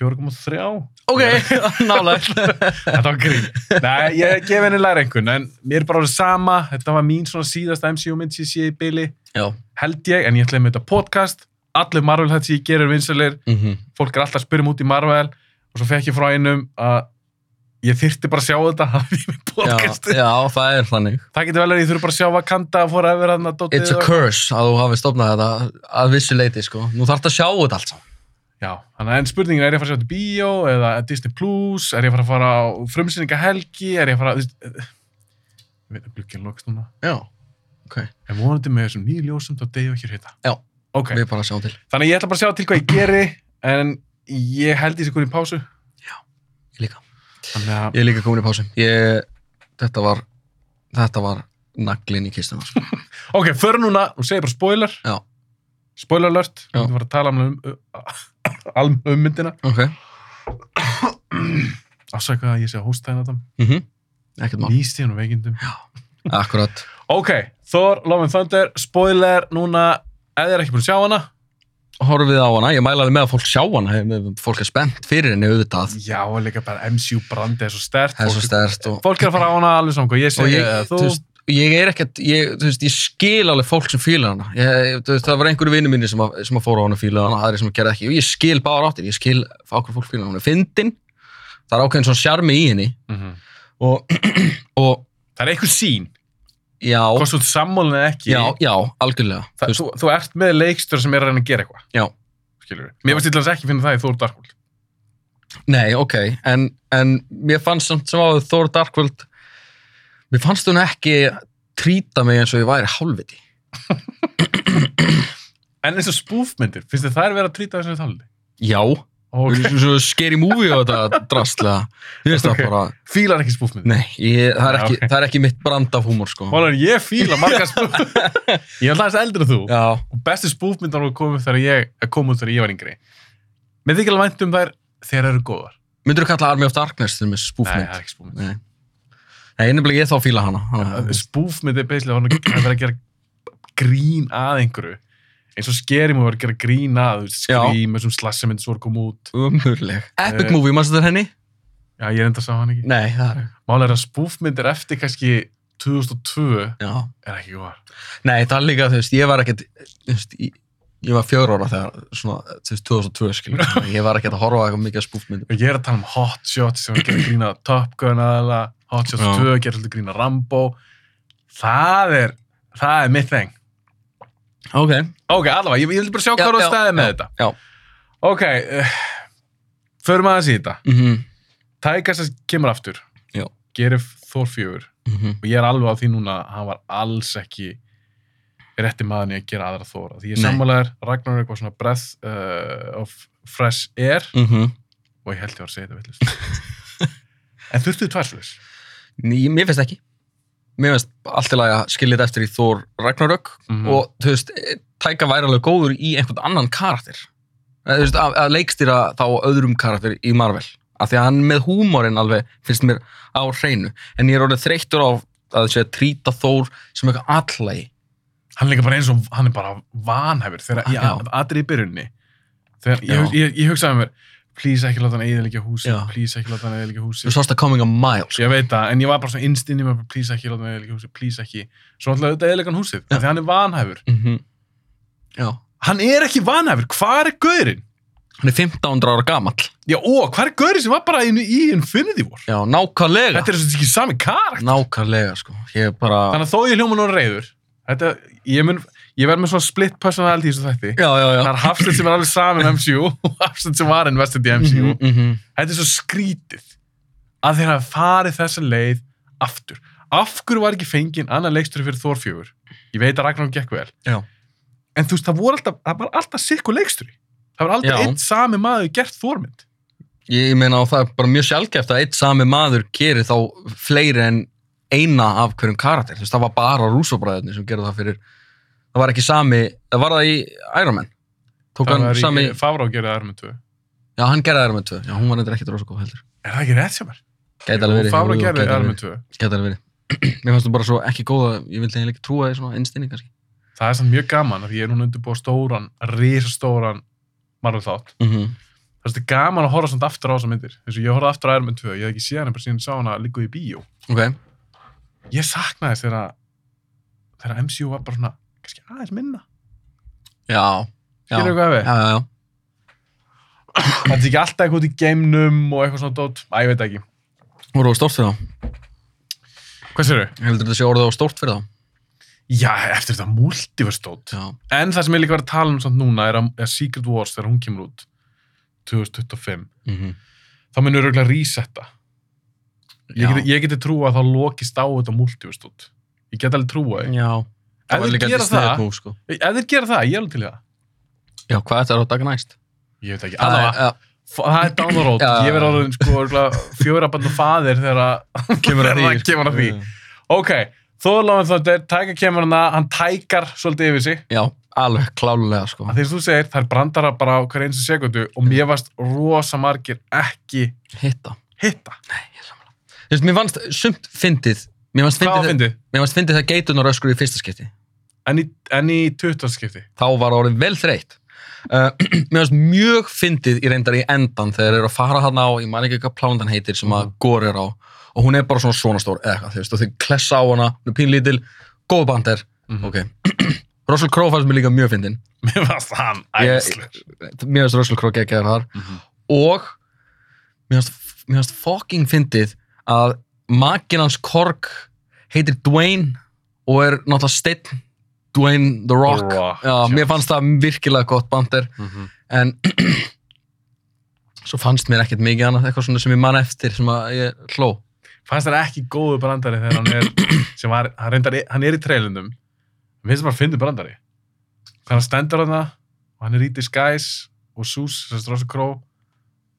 S1: 4,3
S2: Ok, nálega.
S1: Þetta var grín. Nei, ég gef henni læra einhvern, en mér er bara alveg sama. Þetta var mín svona síðasta MCU mynd sem ég sé í byli,
S2: já,
S1: held ég, en ég ætlaði með þetta podcast. Allir Marvel hætt sem ég gerir vinsalir,
S2: mhm,
S1: fólk er alltaf að spyrja mig um út í Marvel og svo fekk ég frá einum að ég þyrfti bara að sjá þetta hafið í podcasti.
S2: já, það er þannig.
S1: Það getur vel að ég þurfi bara að sjá Wakanda að fóra yfir þarna dótið.
S2: It's a curse að þú hafi stofnað þetta að vissu leiti, sko. Nú þarf þetta að sjá þetta allt saman.
S1: Já, þannig að en spurningin er ég að fara að sjá þetta í bíó eða Disney Plus, er ég að fara að fara á frumsýningahelgi, er ég að fara að, þú veist, eh, ég veit að glukkinn lokast núna.
S2: Já, ok.
S1: En vonandi með þessum nýju ljósum, þá deyja okkur hitta.
S2: Já.
S1: Ok,
S2: Við bara sjáum til.
S1: þannig að ég ætla bara að sjá til hvað ég geri, en ég held í sig hvernig pásu.
S2: Ég líka.
S1: Þannig að,
S2: Ég er líka komin í pásu. Ég, þetta var, þetta var naglinn í kistuna, sko.
S1: ok, förum núna og segja bara spoiler.
S2: Já.
S1: Spoiler alert,
S2: Já.
S1: við erum að fara að tala um, um, um, um myndina.
S2: Ok.
S1: Ásaka að ég sé að hósta hérna þetta.
S2: Mhm. Ekkert mál.
S1: Nýst í hann og veikindum. Mm-hmm.
S2: Akkurat.
S1: Ok, Thor, Love and Thunder, spoiler núna, eða er ekki búin að sjá hana,
S2: Horfið á hana. Ég mælaði með að fólk sjá hana. ef- ef Fólk er spennt fyrir henni auðvitað.
S1: Já, og líka bara MCU brandi er svo stert
S2: Það er svo stærst og...
S1: Fólk er að fara á hana alveg saman hvað ég
S2: og
S1: segi
S2: ég,
S1: eða
S2: þú
S1: þú
S2: veist, ég er ekkert ég, þú veist, ég skil alveg fólk sem fíla hana ég, ég- þú veist, það var einhverju vinnu mínir sem, að- sem að fóra á hana og fíla hana, aðri sem að gera ekki og ég skil bára áttir, ég skil ákveð fólk fíla hana hún er fyndin, það er ákveðin svona sjarmi í henni
S1: Mhm.
S2: og, og
S1: Það er eitthvað sín,
S2: já,
S1: hvort þú ert sammálinn eða ekki
S2: já, já algjörlega,
S1: það,
S2: þú veist,
S1: þú, þú ert með leikstur sem er að reyna að gera eitthvað
S2: Já.
S1: Skilur við Mér finnst til dæmis ekki finna það í Thor Dark World
S2: nei, ok en, en mér fannst samt sem áður Thor Darkvöld mér fannst hún ekki trýta mig eins og ég væri hálfviti
S1: En eins og spoofmyndir, finnst þið þær vera að trýta þessari tali?
S2: já,
S1: Og
S2: okay. svo scary movie og þetta drastlega, ég veist
S1: Ok.
S2: það bara
S1: fílar ekki spoofmyndir
S2: Nei, ég, það, er
S1: Nei,
S2: ekki,
S1: ok.
S2: það er ekki mitt brand af húmor sko.
S1: Málar, ég fíla margar spoofmyndir Ég er alltaf aðeins eldri en þú
S2: Já,
S1: Og bestu spoofmyndar voru komið þegar ég, komið þegar ég var yngri Mér þykir alveg vænt um þær þegar þær eru góðar
S2: myndur þú kalla Army of Darkness til með
S1: Nei, það
S2: spúfmynd?
S1: er ekki spoofmynd
S2: Nei, Nei nefnilega ég þá fíla hana. hana.
S1: spúfmynd er basically að hann vera að gera grín að einhverju eins og skeri múið var að gera grín að þú veist,
S2: Já.
S1: skrím, þessum slassamynd svo að koma út
S2: Umurleg. Epic
S1: Eh.
S2: movie, mannstu þetta henni?
S1: já, ég er enda að sá hann ekki
S2: Nei, það er
S1: málega er að spúfmynd er eftir kannski 2002
S2: Já.
S1: er ekki góðar
S2: Nei, það er líka, þú veist, ég var ekkert, þú veist, ég, ég var fjör ára þegar, svona, þú veist, 2002 skilur. Þannig að ég var ekkert að horfa á eitthvað mikið spúfmynd.
S1: og ég er að tala um Hot Shots sem var að gera grín að Top Gun aðala Hot Shots
S2: Já.
S1: 2 gera svolítið grín að Rambo það er það er mitt þeng
S2: Ok.
S1: ok, allavega, ég, ég vil bara sjá
S2: Já,
S1: hvað það
S2: já,
S1: stæði með
S2: já,
S1: þetta
S2: já.
S1: ok, uh, förum aðeins í þetta
S2: Mm -hmm.
S1: Tækast að kemur aftur
S2: Já.
S1: gerir Thor 4
S2: Mhm.
S1: og ég er alveg á því núna að hann var alls ekki rétti maðurinn í að gera aðra Thor því ég
S2: Nei.
S1: sammálaður, Ragnar er eitthvað svona breath uh, of fresh air
S2: Mhm.
S1: og ég held ég var að segja þetta villist en þurftuðu tvær svolítið
S2: Mér finnst ekki. Mér finnst allt í lagi að skilja þetta eftir í Thor Ragnarök
S1: mm
S2: og þú veist, Tæka væri alveg góður í einhvern annan karakter Eh, þú veist, að, að leikstýra þá öðrum karakter í Marvel af því að hann með húmórin alveg finnst mér á hreinu en ég er orðið þreyttur á að sé að trýta Þór sem eitthvað allagi
S1: hann er líka bara eins og hann er bara vanhæfur þegar
S2: Já.
S1: ég aðri í byrjunni þegar ég,
S2: Já.
S1: hug- ég, ég hugsaði með mér please ekki láta hann eðilegja húsi
S2: Já.
S1: please ekki láta hann eðilegja húsi
S2: þú sást að coming a mile sko.
S1: Ég veit það, en ég var bara svona innst inn í mig, bara, please ekki, láta mig eðilega húsið, please ekki. Svo alltaf auðvitað eðilegan húsið, af því hann er vanhæfur.
S2: já.
S1: Hann er ekki vanhæfur, hvað er gaurinn?
S2: hann er 1500 ára gamall
S1: Já, ó, hvað er gaurinn sem var bara í, í Infinity War?
S2: já, nákvæmlega
S1: Þetta er svo ekki sami karakter.
S2: nákvæmlega sko. ég er bara
S1: Þannig að þó ég hljóma nú reyður, þetta, ég, mun, ég verð með svona split personality í þessu þætti.
S2: já, já, já
S1: Það er Hafstedt sem er alveg samin MCU og Hafstedt sem var invested í MCU.
S2: Mhm, mhm.
S1: Þetta er svo skrítið að þeir hafa farið þessa leið aftur. Af hverju var ekki fengið annar leikstur fyrir Thor 4? Ég veit að Ragnar gekk vel.
S2: Já.
S1: En þú veist, það, voru alltaf, það var alltaf sikku leikstur. Það var aldrei
S2: Já.
S1: einn sami maður gert Thormynd.
S2: ég meina og það er bara mjög sjálfgeft að eitt sami maður gerir þá fleiri en eina af hverjum karakter þú veist það var bara rúsobræðinni sem gerði það fyrir það var ekki sami, það var það í Iron Man tók
S1: Það
S2: hann
S1: var
S2: sami,
S1: í Favrá gerði Iron Man 2.
S2: já hann gerði Iron Man 2 já hún var neitt ekki rosa góð heldur
S1: Er það ekki rétt sem er?
S2: gæti alveg verið,
S1: Favrá
S2: jú,
S1: gerði
S2: gæti
S1: Iron
S2: alveg
S1: Man
S2: verið,
S1: 2.
S2: gæti alveg verið mér fannst þú bara svo ekki góð að ég vildi eiginlega ekki trúa því svona innstinni kannski
S1: Það er samt mjög gaman af því ég er núna undirbúið stóran, risastóran Marvel þátt.
S2: mm -hmm.
S1: Það er gaman að horfa samt aftur á þessa myndir. Þess að ég horfði aftur á Iron Man 2. Ég hef ekki séð hann bara síðan ég sá hann að í bíó.
S2: ok,
S1: ég saknaði þess þegar að- þegar að MCU var bara svona kannski aðeins minna
S2: já
S1: skilur
S2: já, já,
S1: við hvað við
S2: já, já.
S1: Það er ekki alltaf eitthvað út í geimnum og eitthvað svona dót. Æ, ég veit ekki.
S2: Orðið á stórt fyrir þá.
S1: Hvað sér þau?
S2: Heldur þetta sé orðið á stórt fyrir þá?
S1: Já, eftir þetta multiverse dót.
S2: Já.
S1: En það sem ég líka var að tala um samt núna er, að, er Secret Wars þegar hún kemur út 2025. Þá munur örgulega resetta. Ég
S2: Já.
S1: geti, ég geti trúa að þá lokist á þetta multiverse dót. Ég get alveg trúa því.
S2: Já.
S1: Ef
S2: var
S1: þeir
S2: líka
S1: gera
S2: sniðugt
S1: það,
S2: move, sko.
S1: ef þeir gera það, ég er alveg til í það.
S2: Já, hvað þetta er á dag næst?
S1: Ég veit ekki,
S2: Það er-
S1: allavega, F- Það er dánarót,
S2: Já.
S1: ég verði orðin sko örugglega fjóra barnu faðir þegar að
S2: kemur að því. Mm.
S1: þegar það kemur að því.
S2: Já.
S1: Ok, þó er lágum þetta, tæka kemur hann að hann tækar svolítið yfir sig.
S2: Já, alveg klálega, sko.
S1: Að því sem þú segir, það er brandara bara á hver einstu sekundu og mér varst rosa margir ekki
S2: Hitta.
S1: hitta.
S2: Þú veist, mér fannst sumt fyndið. Mér fannst
S1: Hvað var
S2: fyndið,
S1: fyndið?
S2: mér fannst fyndið það geitunar öskur í fyrsta skipti.
S1: En í, en í 20. skipti?
S2: Þá var orðið vel þreytt. Uh, mér fannst mjög fyndið í reyndar í endan þegar þeir eru að fara hann á, ég man ekki hvað plánundan heitir sem að
S1: Mhm.
S2: Gore er á og hún er bara svona svona stór eða eitthvað, þú veist, og þeir klessa á hana, hún er pínlítil, góð bandir,
S1: Mhm.
S2: ok. Russell Crowe fannst mér líka mjög fyndin.
S1: Mér varst hann
S2: Ég-
S1: æðislegur.
S2: mér finnst Russell Crowe geggjaður þar
S1: Mhm.
S2: og mér finnst- mér finnst fucking fyndið að makinn hans Korg heitir Dwayne og er náttúrulega steinn Dwayne The Rock,
S1: The Rock,
S2: já,
S1: já.
S2: mér fannst það virkilega gott bandir
S1: Mhm.
S2: en svo fannst mér ekkert mikið annað eitthvað svona sem ég man eftir sem að ég hló
S1: Fannst það ekki góðu brandari þegar hann er, sem var, hann, reyndar, hann er í treilundum. Mér finnst það bara að fyndi brandari. Þegar hann stendur hann og hann er í disguise og Sus, sem er Rosa Crow,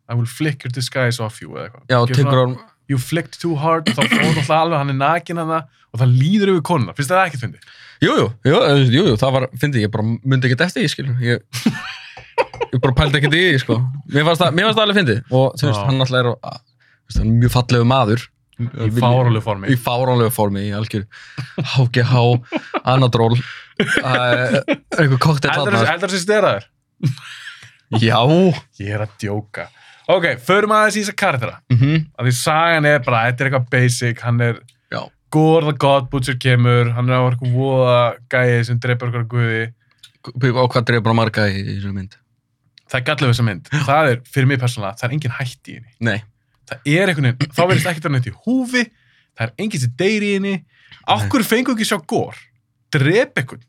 S1: I will flick your disguise off you eða eitthvað.
S2: já,
S1: Gerir
S2: tekur
S1: svona,
S2: hann
S1: You flicked too hard, þá fór alltaf alveg, hann er nakin hann og það líður yfir konuna. Finnst það ekki að fyndi?
S2: Jú, jú, jú, eh, jú, jú, það var, fyndið, ég bara myndi ekkert eftir því, skilur, ég, ég bara pældi ekkert í því, sko. Mér fannst það, mér fannst það alveg fyndið og þú veist,
S1: Já.
S2: hann alltaf er, á- þú veist, hann er mjög fallegu maður
S1: Í fárálegu formi.
S2: í fáránlegu formi, í algjör HGH, Anadról, uh, einhver koktel
S1: Heldur
S2: þarna.
S1: það sem steraður?
S2: Já,
S1: Ég er að djóka. Ok, förum aðeins í þessa kartera.
S2: mhm,
S1: Af því sagan er bara, þetta er eitthvað basic, hann er
S2: já,
S1: Gore the God Butcher kemur, hann er á eitthvað voða gæði sem dreipur okkur guði.
S2: og hvað dreifur að marga í, í þessu mynd?
S1: Það er gallið við þessa mynd. Það er, fyrir mig persónulega, það er engin hætti í henni.
S2: Nei,
S1: Það er einhvern veginn, þá verðist ekkert að neitt í húfi, það er engin sem deyr í henni. Okkur fengur ekki að sjá Gore, dreip einhvern,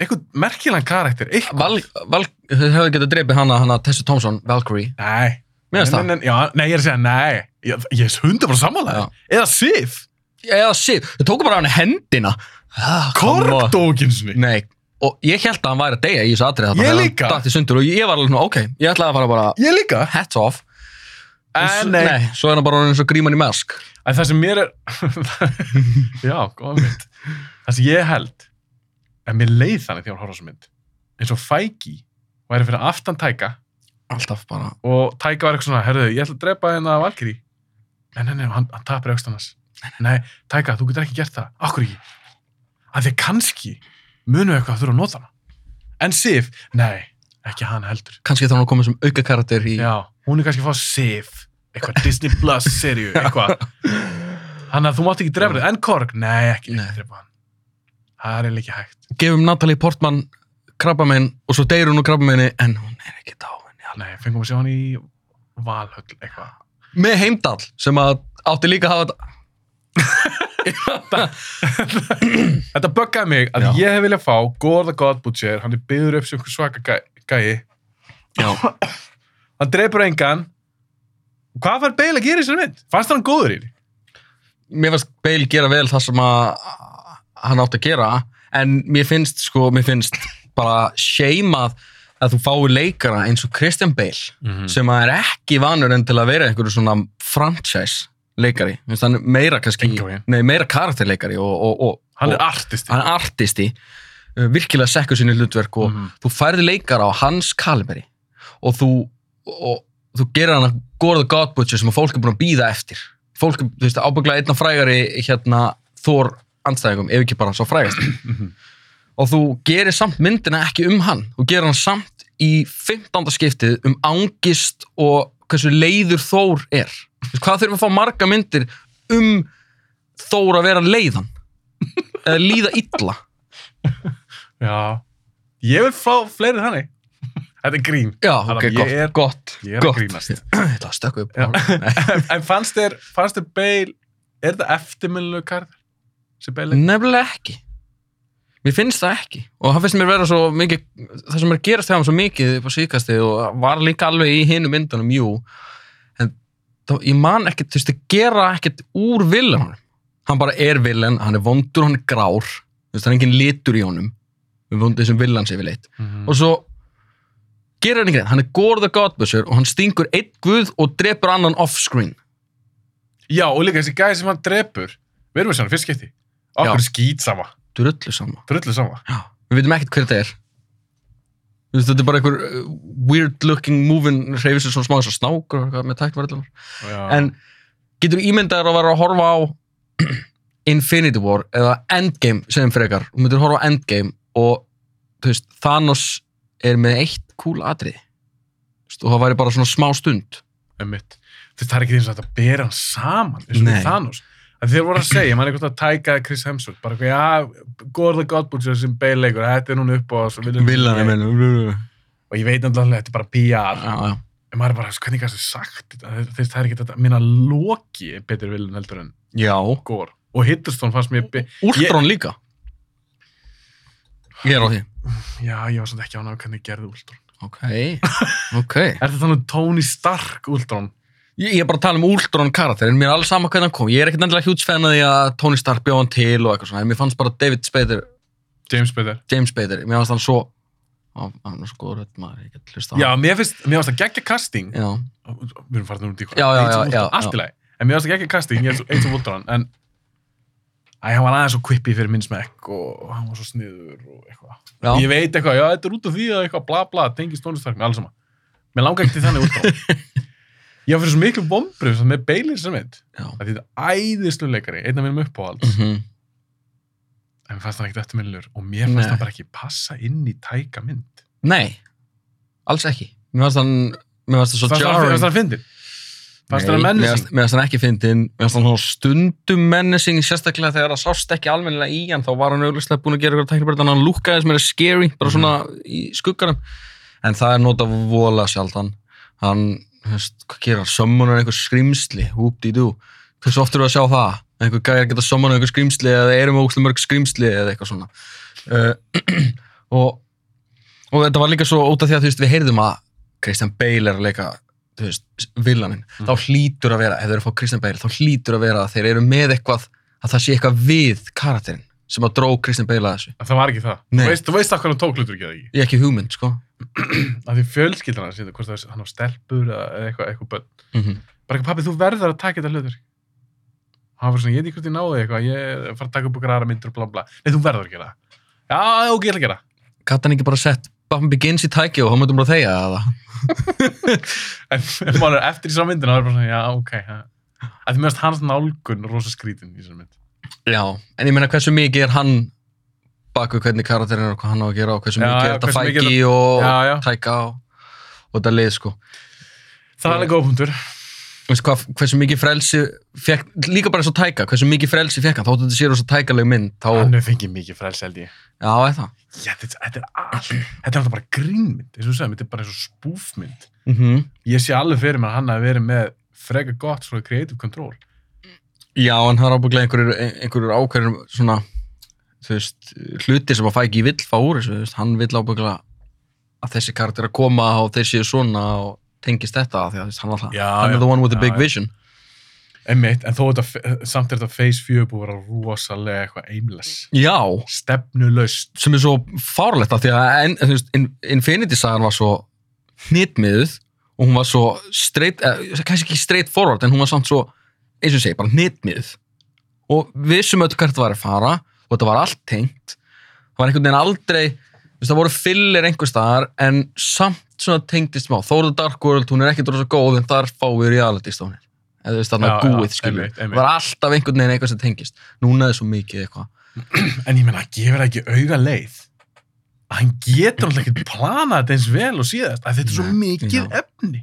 S1: einhvern merkilegan karakter, einhvern.
S2: Val, Val, þau hefðu getið dreifið hana, hana Tessa Thompson, Valkyrie,
S1: Nei.
S2: Mér finnst
S1: Nei, nei, nei, já, nei, ég er að segja, nei, ég, ég er hundar bara sammálaði. Eða Sif,
S2: eða Sif, þau tóku bara hann hendina. Ah, come on.
S1: Korkdókinsinni.
S2: Nei, og ég held að hann væri að deyja í þessu atrið þarna,
S1: Ég
S2: þegar
S1: líka.
S2: hann datt í sundur og ég var alveg svona, ok, ég ætlaði að fara bara
S1: Ég líka.
S2: hats off
S1: En
S2: svo,
S1: nei,
S2: svo er hann bara orðinn eins og gríman í mask
S1: En það sem mér er... Já, góða mynd. Það sem ég held, en mér leið þannig þegar ég var að horfa á þessu mynd, eins og Fæki væri fyrir aftan Tæka
S2: Alltaf bara
S1: og Tæka var eitthvað svona, herðu, ég ætla að drepa hérna Valkyri. Nei, nei, nei, og hann, hann tapir aukstan hans. Nei, Tæka, þú getur ekki gert það. Akkur ekki. Af því að kannski munu eitthvað að þurfa að nota hana. En Sif, nei, ekki hana heldur.
S2: kannski þá hann komið sem auka karakter í
S1: Já, hún er kannski að fá Sif, eitthvað Disney Plus seríu, eitthvað. Þannig að þú mátt ekki drefa þig, en Korg, nei, ekki,
S2: Nei.
S1: ekki drefa hann. Það er eiginlega ekki hægt.
S2: gefum Natalie Portman krabbamein og svo deyr hún úr krabbameini en hún er ekki dáin já.
S1: Nei, fengum við sjá hann í Valhöll, eitthvað.
S2: með Heimdall sem að átti líka að hafa
S1: Þetta buggaði mig að
S2: Já.
S1: ég hef viljað fá Gorða God Butcher, hann er byggður upp sem einhver svaka gæ, gæi.
S2: já,
S1: Hann dreipur engan. Hvað fær Bale að gera í sér mynd? Fannst hann góður í því?
S2: mér finnst Bale gera vel það sem að hann átti að gera en mér finnst sko, mér finnst bara seimað að þú fái leikara eins og Christian Bale
S1: Hmm.
S2: sem að er ekki vanur enn til að vera einhverju svona franchise leikari, Þú veist, hann er meira kannski
S1: Engan veginn.
S2: nei, meira karakterleikari og, og, og,
S1: Hann
S2: og
S1: er artisti.
S2: hann er artisti uh, virkilega sekkur sinni hlutverk og
S1: Mhm.
S2: þú færði leikara á hans kaliberi og þú, og, þú gerir hann að Gore the God Butcher sem að fólk er búin að býða eftir fólk, er, þú veist, ábygglega einna frægari hérna Thor anstæðingum ef ekki bara sá frægast
S1: Mhm.
S2: og þú gerir samt myndina ekki um hann þú gerir hann samt í 15. skiptið um angist og hversu leiður Þór er Þú veist, hvað þurfum við að fá marga myndir um Þór að vera leiðan eða líða illa
S1: Já. Ég vil fá fleiri þannig. eh. Þetta er grín.
S2: Já,
S1: Adam,
S2: ok,
S1: ég
S2: gott,
S1: er-
S2: gott,
S1: ég er að
S2: gott.
S1: grínast.
S2: Ég ætla að stökka upp.
S1: Já.
S2: Nei.
S1: en fannst þér, fannst þér Bale, er þetta eftirminnilegu karður? Sem Bale er?
S2: Nefnilega ekki. Mér finnst það ekki. Og það finnst mér vera svo mikið, það sem er að gerast hjá hann svo mikið upp á síðkasti og var líka alveg í hinu myndunum, jú. En þá, ég man ekkert, þú veist, það gera ekkert úr villan honum. Hann bara er villan, hann er vondur, hann er grár. Þú veist, það er engin litur í honum. Við vondum þessum villan sér við leitt.
S1: Mhm.
S2: Og svo gerir hann ekki reynd. Hann er Gore the Godbusser og hann stingur einn guð og drepur annan offscreen.
S1: Já, og líka þessi gæði sem hann drepur. Við erum við svona fyrst skipti.
S2: Já.
S1: Okkur er skýt sama,
S2: Drullu sama.
S1: drullu sama.
S2: Já, við veitum ekkert hver þetta er Þú veist, þetta er bara einhver uh, weird looking moving hreyfis sem svona smá þess að snákur og eitthvað með tæknvarðlum
S1: Já.
S2: en getur ímyndaður að vera að horfa á Infinity War eða Endgame sem frekar og myndir horfa á Endgame og þú veist, Thanos er með eitt cool atrið og það væri bara svona smá stund
S1: Einmitt. Þú veist, það er ekki eins og þetta bera hann saman eins og
S2: Nei.
S1: við Thanos. Að þeir voru að segja, mann er eitthvað að tæka Chris Hemsworth, bara eitthvað, já, Gorða Godbútsjör sem Bale leikur, þetta er núna upp og svo viljum ég.
S2: minn já,
S1: Og ég veit náttúrulega, að þetta er bara PR.
S2: já.
S1: En maður er bara, hvernig kannski sagt, þetta? Þú veist, það er ekki þetta, minna Loki er betur viljum heldur en
S2: já.
S1: Gor. Og Hiddleston fannst mér, be-
S2: Ultron líka ég er á því
S1: já, ég var svona ekki ánað hvernig gerði Ultron.
S2: ok, ok
S1: Er þetta þannig Tony Stark Ultron?
S2: Ég ég er bara að tala um Ultron karakterinn, mér er alls sama hvernig hann kom. Ég er ekkert endilega hjúts fan að því að Tony Stark bjóð hann til og eitthvað svona, en mér fannst bara David Spader,
S1: James Bader.
S2: James Spader, mér fannst hann svo, hann hann er svo góður rödd maður, ég get hlusta á
S1: Já,
S2: hann.
S1: mér finnst, mér finnst að gegja casting.
S2: Já.
S1: við erum farin út í hvað
S2: Já, já,
S1: Eins og Voltron,
S2: já, já,
S1: allt í lagi, en mér varst ekki ekki kasting ég er svo- eins og Voltron, en Æ, hann var aðeins svo kvippi fyrir minn smekk og hann var svo sniður og eitthvað
S2: Já.
S1: ég veit eitthvað, já, þetta er út af því að eitthvað bla bla, tengist tónlistarkni, alls saman mér langar ekki til þannig Voltron ég var fyrir svo miklu bombrið með Baileys sem mynd,
S2: Já.
S1: að þetta er æðislu leikari einn af mínum uppáhalds,
S2: Mhm.
S1: en mér fannst hann ekkert eftirminnlur og mér fannst
S2: Nei.
S1: hann bara ekki passa inn í tæka mynd
S2: Nei, alls ekki. Mér fannst hann, mér fannst hann svo
S1: fannst hann-
S2: jarring.
S1: fannst hann fyndin fannst hann
S2: Nei, mér
S1: mennising
S2: fannst- Mér fannst hann ekki fyndin, mér fannst hann svona stundum mennising, sérstaklega þegar það sást ekki almennilega í hann, þá var hann auðvitað búin að gera eitthvað teknibröð, hann lúkkaði sem er scary,
S1: Mhm.
S2: bara svona í skugganum. En það er nota vola sjaldan. Hann, þú veist, hvað gerir hann, sömmunar einhver skrimsli, húpdi-dú. Hversu oft eru að sjá það? Einhver gæjar geta sömmunar einhver skrimsli eða erum ógslum mörg skrimsli eða eitthvað svona. Uh, og, og þetta var líka svo út af því að þú veist, við heyrðum að Christian Bale er að leika þú veist, villaninn,
S1: Mm.
S2: þá hlýtur að vera ef þeir eru að fá Christian Bale, þá hlýtur að vera að þeir eru með eitthvað, að það sé eitthvað við karakterinn sem að dró Christian Bale að þessu
S1: það var ekki það,
S2: Nei.
S1: þú veist, þú veist að hvernig tók hlutur ekki
S2: ég er ekki hugmynd, sko
S1: að því fjölskyldan hans, ég veit hvort það er hann á stelpur eða eða eitthvað, eitthvað bönn
S2: mm
S1: bara eitthvað, pappi, þú verður að taka þetta hlutur hann var svona, ég veit ekki hvort ég náði eitthvað ég er að fara að taka upp okkur aðra myndir og bla bla nei, þú verður að gera það já, ok, ég ætla að gera það.
S2: Gat hann ekki bara sett Batman Begins í tæki og þá mötum bara að þegja það
S1: en, en maður er eftir í svona myndina það er bara svona, já, ok ha. að því meðast hans nálgun rosa skrítin í svona mynd
S2: Já, en ég meina hversu mikið er hann bak við hvernig karakterinn er og hvað hann á að gera og hversu
S1: Já,
S2: mikið
S1: já,
S2: er þetta
S1: hversu mikið er
S2: fæki og
S1: já, já,
S2: tæka og, og þetta lið, sko
S1: það er alveg góð punktur
S2: Þú veist hvað, hversu mikið frelsi fekk, líka bara eins og tæka, hversu mikið frelsi fekk hann þá þetta sé rosa tækaleg mynd þá,
S1: hann hefur fengið mikið frels, held ég
S2: já, er það
S1: já, þetta, þetta er allt þetta er alltaf bara grínmynd, eins og þú segir, þetta er bara eins og spúfmynd
S2: mm
S1: ég sé alveg fyrir mér að hann hafi verið með freka gott svona creative control
S2: Já, en það er ábygglega einhverjur, einhverjur ákveðnum svona, þú veist, hluti sem að fæ ekki vill fá úr þessu, þú veist, hann vill ábygglega að þessi karakter að koma og þeir séu svona og tengist þetta af því að þú veist, hann alltaf,
S1: Já,
S2: hann
S1: já,
S2: er the one with the
S1: já,
S2: big
S1: já.
S2: vision.
S1: Einmitt, en þó þetta, f- samt er þetta Phase 4 búið að vera rosalega eitthvað aimless,
S2: Já,
S1: stefnulaust.
S2: sem er svo fárlegt af því að en, þú veist, In- Infinity sagan var svo hnitmiðuð og hún var svo straight, eh, kannski ekki straight forward, en hún var samt svo, eins og ég segi, bara hnitmiðuð. Og við sem öll hvert var að fara og þetta var allt tengt, það var einhvern veginn aldrei, þú veist, það voru fyllir einhver staðar, en samt svona tengdist smá. Þóra Dark World, hún er ekkert rosa góð, en þar fá við reality stónir. Eða þú veist, þarna
S1: Já, já,
S2: gúið, skilur.
S1: einmitt,
S2: við.
S1: einmitt.
S2: Það var alltaf einhvern veginn eitthvað sem tengist. Núna er svo mikið eitthvað.
S1: En ég meina, gefur það ekki auga leið að hann getur alltaf ekki planað þetta eins vel og síðast, að þetta er svo
S2: Nei,
S1: mikið
S2: já.
S1: efni.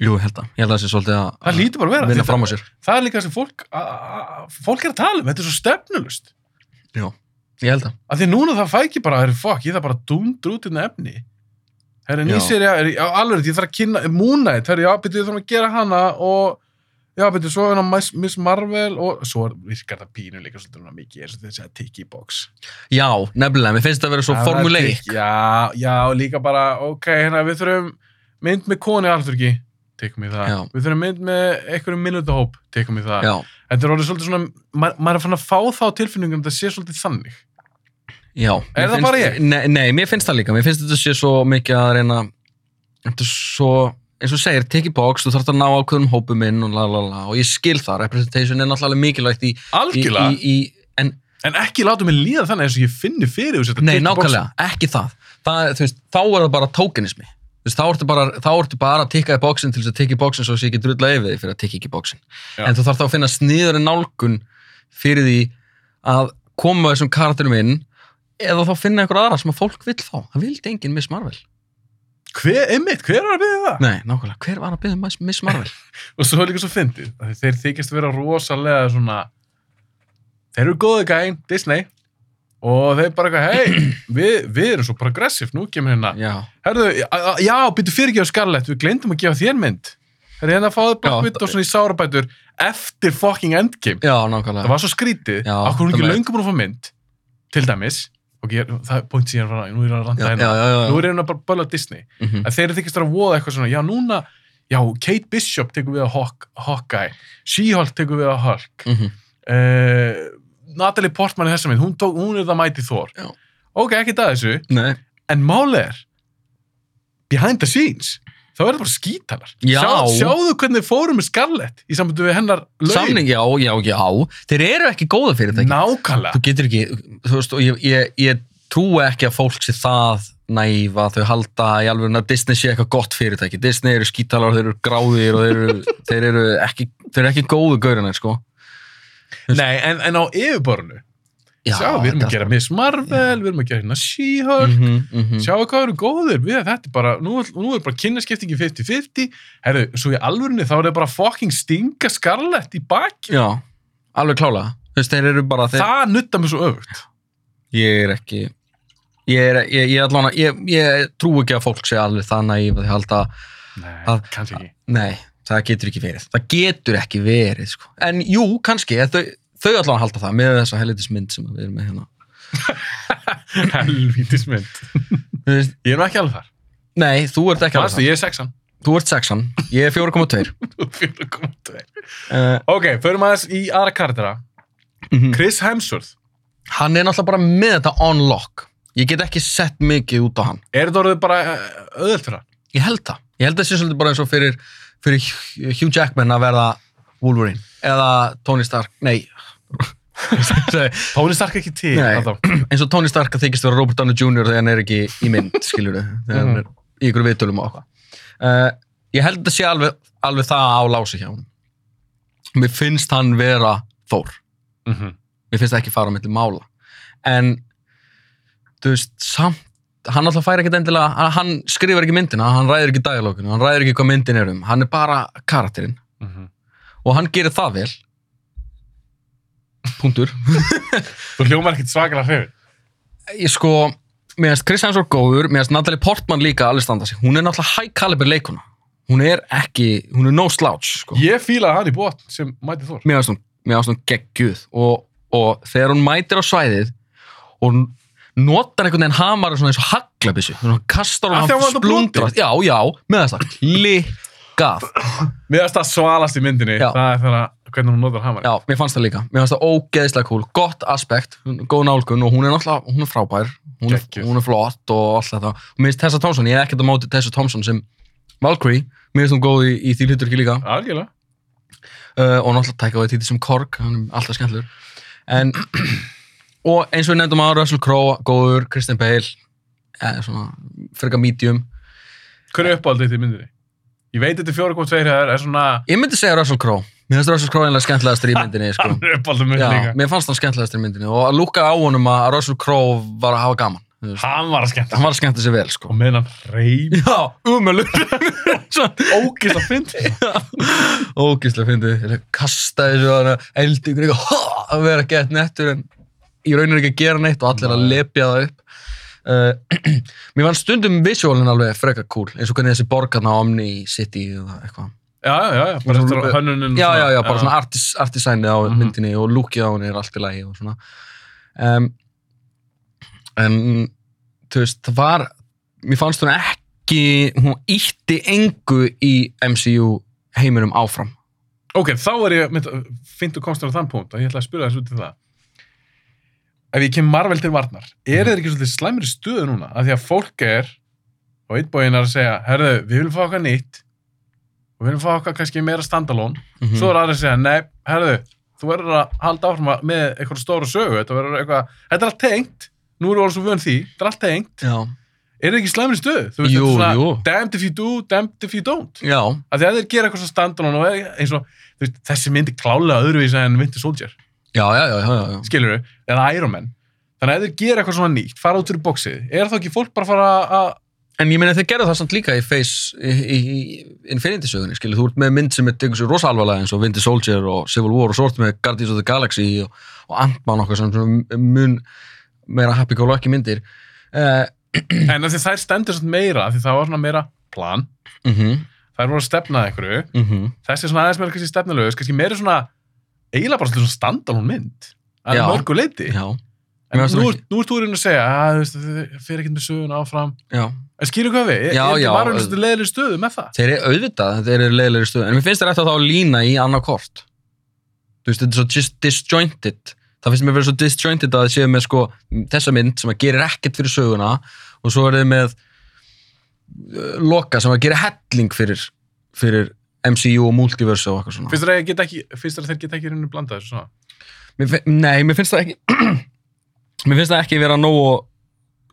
S2: Jú, ég held að. Ég held að það sé svolítið að...
S1: Það lítur bara að vera.
S2: vinna
S1: Þetta-
S2: fram á sér.
S1: Það er líka sem fólk, a- a- a- fólk er að tala um, þetta er svo stefnulaust.
S2: Ég held að.
S1: Að því núna það fækir bara, er, fuck, ég þarf bara að dundra út þetta efni Herri,
S2: Já.
S1: nýserja, er, já, alveg, ég þarf að kynna, Moon Knight, herri, já, betur, ég þarf að gera hana og, já, betur, svo er hana Miss, Miss Marvel og svo er, virkar það pínu líka svolítið svona mikið, eins og þessi að tiki box.
S2: Já, nefnilega, mér finnst það að vera svo
S1: Já,
S2: formuleik.
S1: það er tiki- Já, já, líka bara, ok, hérna, við þurfum mynd með koni alþurki, tekum í það.
S2: Já.
S1: Við þurfum mynd með einhverjum minnutahóp, tekum í það.
S2: Já,
S1: Þetta er orðið svolítið svona, ma maður er fann að fá þá tilfinningum að þetta sé svolítið þannig.
S2: já. Mér
S1: það
S2: finnst-
S1: bara ég?
S2: Nei, nei, mér finnst það líka. Mér finnst þetta sé svo mikið að reyna, þetta er svo, eins og þú segir, tiki box, þú þarf að ná ákveðum hópum inn og la la la og ég skil það, representation er náttúrulega mikilvægt í, í,
S1: Algjörlega,
S2: í, í en
S1: en ekki láta mig líða þannig eins og ég finni fyrir þessu þetta
S2: Nei,
S1: tiki box.
S2: nákvæmlega, ekki það. það þú veist, þá er það bara tókenismi. Þú Veist, þá, ertu bara, þá ertu bara að tikka í bóksin til þess að tikka í bóksin svo sé ekki drulla yfir því fyrir að tikka ekki í bóksin.
S1: Já.
S2: En þú þarf þá að finna sniður nálgun fyrir því að koma þessum karakterum inn eða þá finna einhver aðra sem að fólk vill fá. Það vildi enginn Miss Marvel.
S1: Hver, einmitt, hver er að byrja það?
S2: Nei, nákvæmlega, hver var að byggja Miss Marvel?
S1: og svo er líka svo fyndið að þeir þykist vera rosalega svona þeir eru góðu gæn, Disney og þeir bara eitthvað, hei við, við erum svo progressiv, nú kemur hérna
S2: Já,
S1: herðu, a- a- já, byrju fyrirgefa Scarlett við glemdum að gefa þér mynd herðu hérna fáðu Black
S2: Já,
S1: Widow svona í sárabætur eftir fucking Endgame
S2: já,
S1: það
S2: nákvæmlega.
S1: var svo skrítið,
S2: Já,
S1: af hverju hún
S2: það
S1: ekki
S2: veit.
S1: löngum búin að fá mynd til dæmis, og ég, það er point sem ég er að fara nú er ég að
S2: Já,
S1: landa
S2: já,
S1: hérna,
S2: já, já.
S1: nú er ég að bara bölla Disney
S2: Mhm.
S1: að þeir eru þykist að voða eitthvað svona, já núna já, Kate Bishop tekur við að Hawk, Hawkeye, She-Hulk tekur við að Hulk
S2: Mhm.
S1: uh, Natalie Portman er þessa mynd, hún, tók, hún er það mæti Thor
S2: Já.
S1: ok, ekki það þessu,
S2: Nei,
S1: en málið er behind the scenes þá er það bara skítalar
S2: Já.
S1: sjáðu hvernig fórum með Scarlett í sambandi við hennar laun
S2: samning, já, já, já. Þeir eru ekki góða fyrir þetta.
S1: nákvæmlega
S2: þú getur ekki, þú veist, og ég, ég, ég trúi ekki að fólk sé það næf að þau halda í alveg að Disney sé eitthvað gott fyrirtæki. Disney eru skítalar, þeir eru gráðir og þeir eru, þeir eru ekki, þeir eru ekki góðu gaurina, sko.
S1: Nei, en, en á yfirborðinu
S2: Já,
S1: Sjá, við erum að gera Miss Marvel, við erum að gera hérna She-Hulk
S2: mm -hmm, mm -hmm.
S1: sjáu hvað eru góðir við þetta er bara, nú, er- nú er bara kynnaskiptingin 50-50, herru, svo í alvörunni þá er það bara fucking stinga skarlett í baki,
S2: Já, alveg klálega. Þú veist, þeir eru bara, þeir,
S1: það nutta mig svo öfugt
S2: ég er ekki, ég er, ég, ég allan að, ég, ég trúi ekki að fólk sé alveg það næf að þau halda
S1: Nei,
S2: Að-
S1: kannski ekki
S2: Nei, það getur ekki verið. Það getur ekki verið, sko. En jú, kannski, en þau, þau allan halda það með þessa helvitismynd sem við erum með hérna.
S1: Helvítis mynd,
S2: Þú veist,
S1: ég er nú ekki alveg þar
S2: Nei, þú ert ekki alveg
S1: Kanski,
S2: það.
S1: ég er sexan
S2: Þú ert sexan, ég er 4,2.
S1: 4,2.
S2: Uh,
S1: Ok, förum aðeins í aðra kardara
S2: mhm.
S1: Chris Hemsworth,
S2: hann er náttúrulega bara með þetta on lock. Ég get ekki sett mikið út á hann.
S1: er þetta orðið bara eh, auðvelt fyrir hann?
S2: Ég held það. Ég held það sé svolítið bara eins og fyrir, fyrir Hugh Jackman að verða Wolverine. Eða Tony Stark, nei.
S1: Tóni stark ekki til
S2: Nei.
S1: ennþá.
S2: eins og Tony Stark að þykist vera Robert Downey Jr. þegar hann er ekki í mynd, skilur þegar hann er í ykkur viðtölum og eitthvað. Uh, ég held að sé alveg, alveg það á lási hjá hann. Mér finnst hann vera Þór.
S1: Mhm.
S2: Mér finnst það ekki fara á milli mála. En, þú veist, samt, hann alltaf fær ekkert endilega, hann- hann skrifar ekki myndina, hann ræðir ekki dialóginu, hann ræðir ekki hvað myndin er um, hann er bara karakterinn
S1: Mhm.
S2: og hann gerir það vel. Punktur.
S1: Þú hljómar ekkert svakalega hrifin
S2: ég sko, mér finnst Chris Hemsworth góður, mér finnst Natalie Portman líka alveg standa sig, hún er náttúrulega high caliber leikuna hún er ekki, hún er no slouch sko.
S1: Ég fílaði hann í bótt sem mæti Þór
S2: mér finnst hún, mér finnst hún geggjuð og, og þegar hún mætir á svæðið og hún notar einhvern veginn hamar svona eins og haglabissu hún kastar
S1: Af því að
S2: hún,
S1: hún
S2: hann
S1: var þetta
S2: splundrast já, já, með þess að klikkað
S1: Mér finnst það svalast í myndinni,
S2: Já.
S1: það er þegar að- hvernig hún notar hamar
S2: já, mér fannst það líka, mér fannst það ógeðislega cool gott aspekt, góð nálgun og hún er náttúrulega, hún er frábær hún er,
S1: Geggjuð.
S2: hún er flott og allt þetta og mér finnst Tessa Thompson, ég er ekkert á móti Tessa Thompson sem Valkyrie, mér finnst hún góð í, í því hluturki líka uh,
S1: Algjörlega.
S2: og náttúrulega tækja á því sem Korg hann er alltaf skemmtlur en, og eins og við nefndum að Russell Crowe, góður, Christian Bale eh, svona, frekar medium
S1: Hver er uppáhaldið þitt í myndinni? Ég veit þetta er 4.2 er, er svona
S2: ég myndi segja Russell Crowe, mér finnst Russell Crowe einlega skemmtlegastur í myndinni sko.
S1: hann er uppáhaldið mynd
S2: Já,
S1: líka.
S2: mér fannst hann skemmtilegastur í myndinni og að lúka á honum að Russell Crowe var að hafa gaman þú veist.
S1: Hann var að skemmta.
S2: hann var að skemmta sér vel sko
S1: Og með hann reym.
S2: Já, umölu
S1: Ógist að fyndi.
S2: Ógíslega fyndið, ég kasta þessu að hana eldi ykkur eitthvað ha, að vera gett nettur en ég raunir ekki að gera neitt og allir að
S1: Nei.
S2: lepja það upp Uh, mér fannst stundum visuálinn alveg freka cool, eins og hvernig þessi borgarna á Omni City eða eitthvað.
S1: Já, já, já, bara
S2: Svona
S1: eftir
S2: lúpu-
S1: hönnunin.
S2: Já, já, já, bara svona artis- artisænið á
S1: Mhm.
S2: myndinni og lúkið á henni er allt í lagi og svona. Um, en, þú veist, það var, mér fannst hún ekki, hún ítti engu í MCU heiminum áfram.
S1: Ok, þá er ég, mynd, finnst þú komst þér á þann punkt og ég ætla að spyrja þessu út í það. Ef ég kem Marvel til varnar, er
S2: Mhm.
S1: þeir ekki svolítið slæmur í stöðu núna? Af því að fólk er og einn er að segja, herðu, við viljum fá okkar nýtt og við viljum fá okkar kannski meira standalone.
S2: Mm
S1: Svo er aðrið að segja, nei, herðu, þú verður að halda áfram að- með eitthvað stóra sögu, þetta verður eitthvað, þetta er allt tengt, nú erum við alveg svo vön því, þetta er allt tengt.
S2: Já,
S1: Er þeir ekki slæmur í stöðu? Þú veist,
S2: Jú,
S1: þetta er
S2: jú.
S1: svona, damned if you do, damned if you don't
S2: já,
S1: af því að þeir gera eitthvað svo standalone og er- eins og þú veist, þessi myndi klálega öðruvísa en Winter Soldier,
S2: já, já, já, já, já.
S1: skilur við, eða Iron Man þannig að ef þeir gera eitthvað svona nýtt, fara út fyrir bóksið er þá ekki fólk bara að fara að
S2: En ég meina þeir gerðu það samt líka í Face í, í, í Infinity sögunni, skilur, þú ert með mynd sem er tegur sér rosa alvarlega eins og Winter Soldier og Civil War og svo ertu með Guardians of the Galaxy og, og Ant-Man okkar sem svona mun meira happy-go-lucky myndir uh,
S1: en af því þær stendur svona meira, af því það var svona meira plan,
S2: mm -hmm,
S1: þær voru að stefna að einhverju,
S2: mm -hmm.
S1: þessi er svona aðeins meira kannski stefnulegu, kannski meira svona eiginlega bara svona standalone mynd að
S2: Já.
S1: mörgu leiti,
S2: Já,
S1: en
S2: Mér fannst
S1: nú,
S2: það
S1: er- nú ert þú í raun að segja að þið fyrir ekki með söguna áfram
S2: já
S1: en skilur hvað við,
S2: Já,
S1: er
S2: já,
S1: þetta bara
S2: auð-
S1: einhversu leðileg stöðu með það
S2: Þeir eru auðvitað, þeir eru leiðilegri stöðu en mér finnst þeir eftir að þá að lína í annað kort Þú veist, þetta er svo dis- disjointed Það finnst mér verið svo disjointed að þið séu með sko þessa mynd sem að gerir ekkert fyrir söguna og svo er þið með uh, loka sem að gera helling fyrir, fyrir MCU og multiverse og eitthvað svona
S1: finnst þér að, ég get ekki, finnst þér að þeir geta ekki rauninni blanda þessu svona
S2: mér, fin- Nei, mér finnst það ekki Mér finnst það ekki vera nógu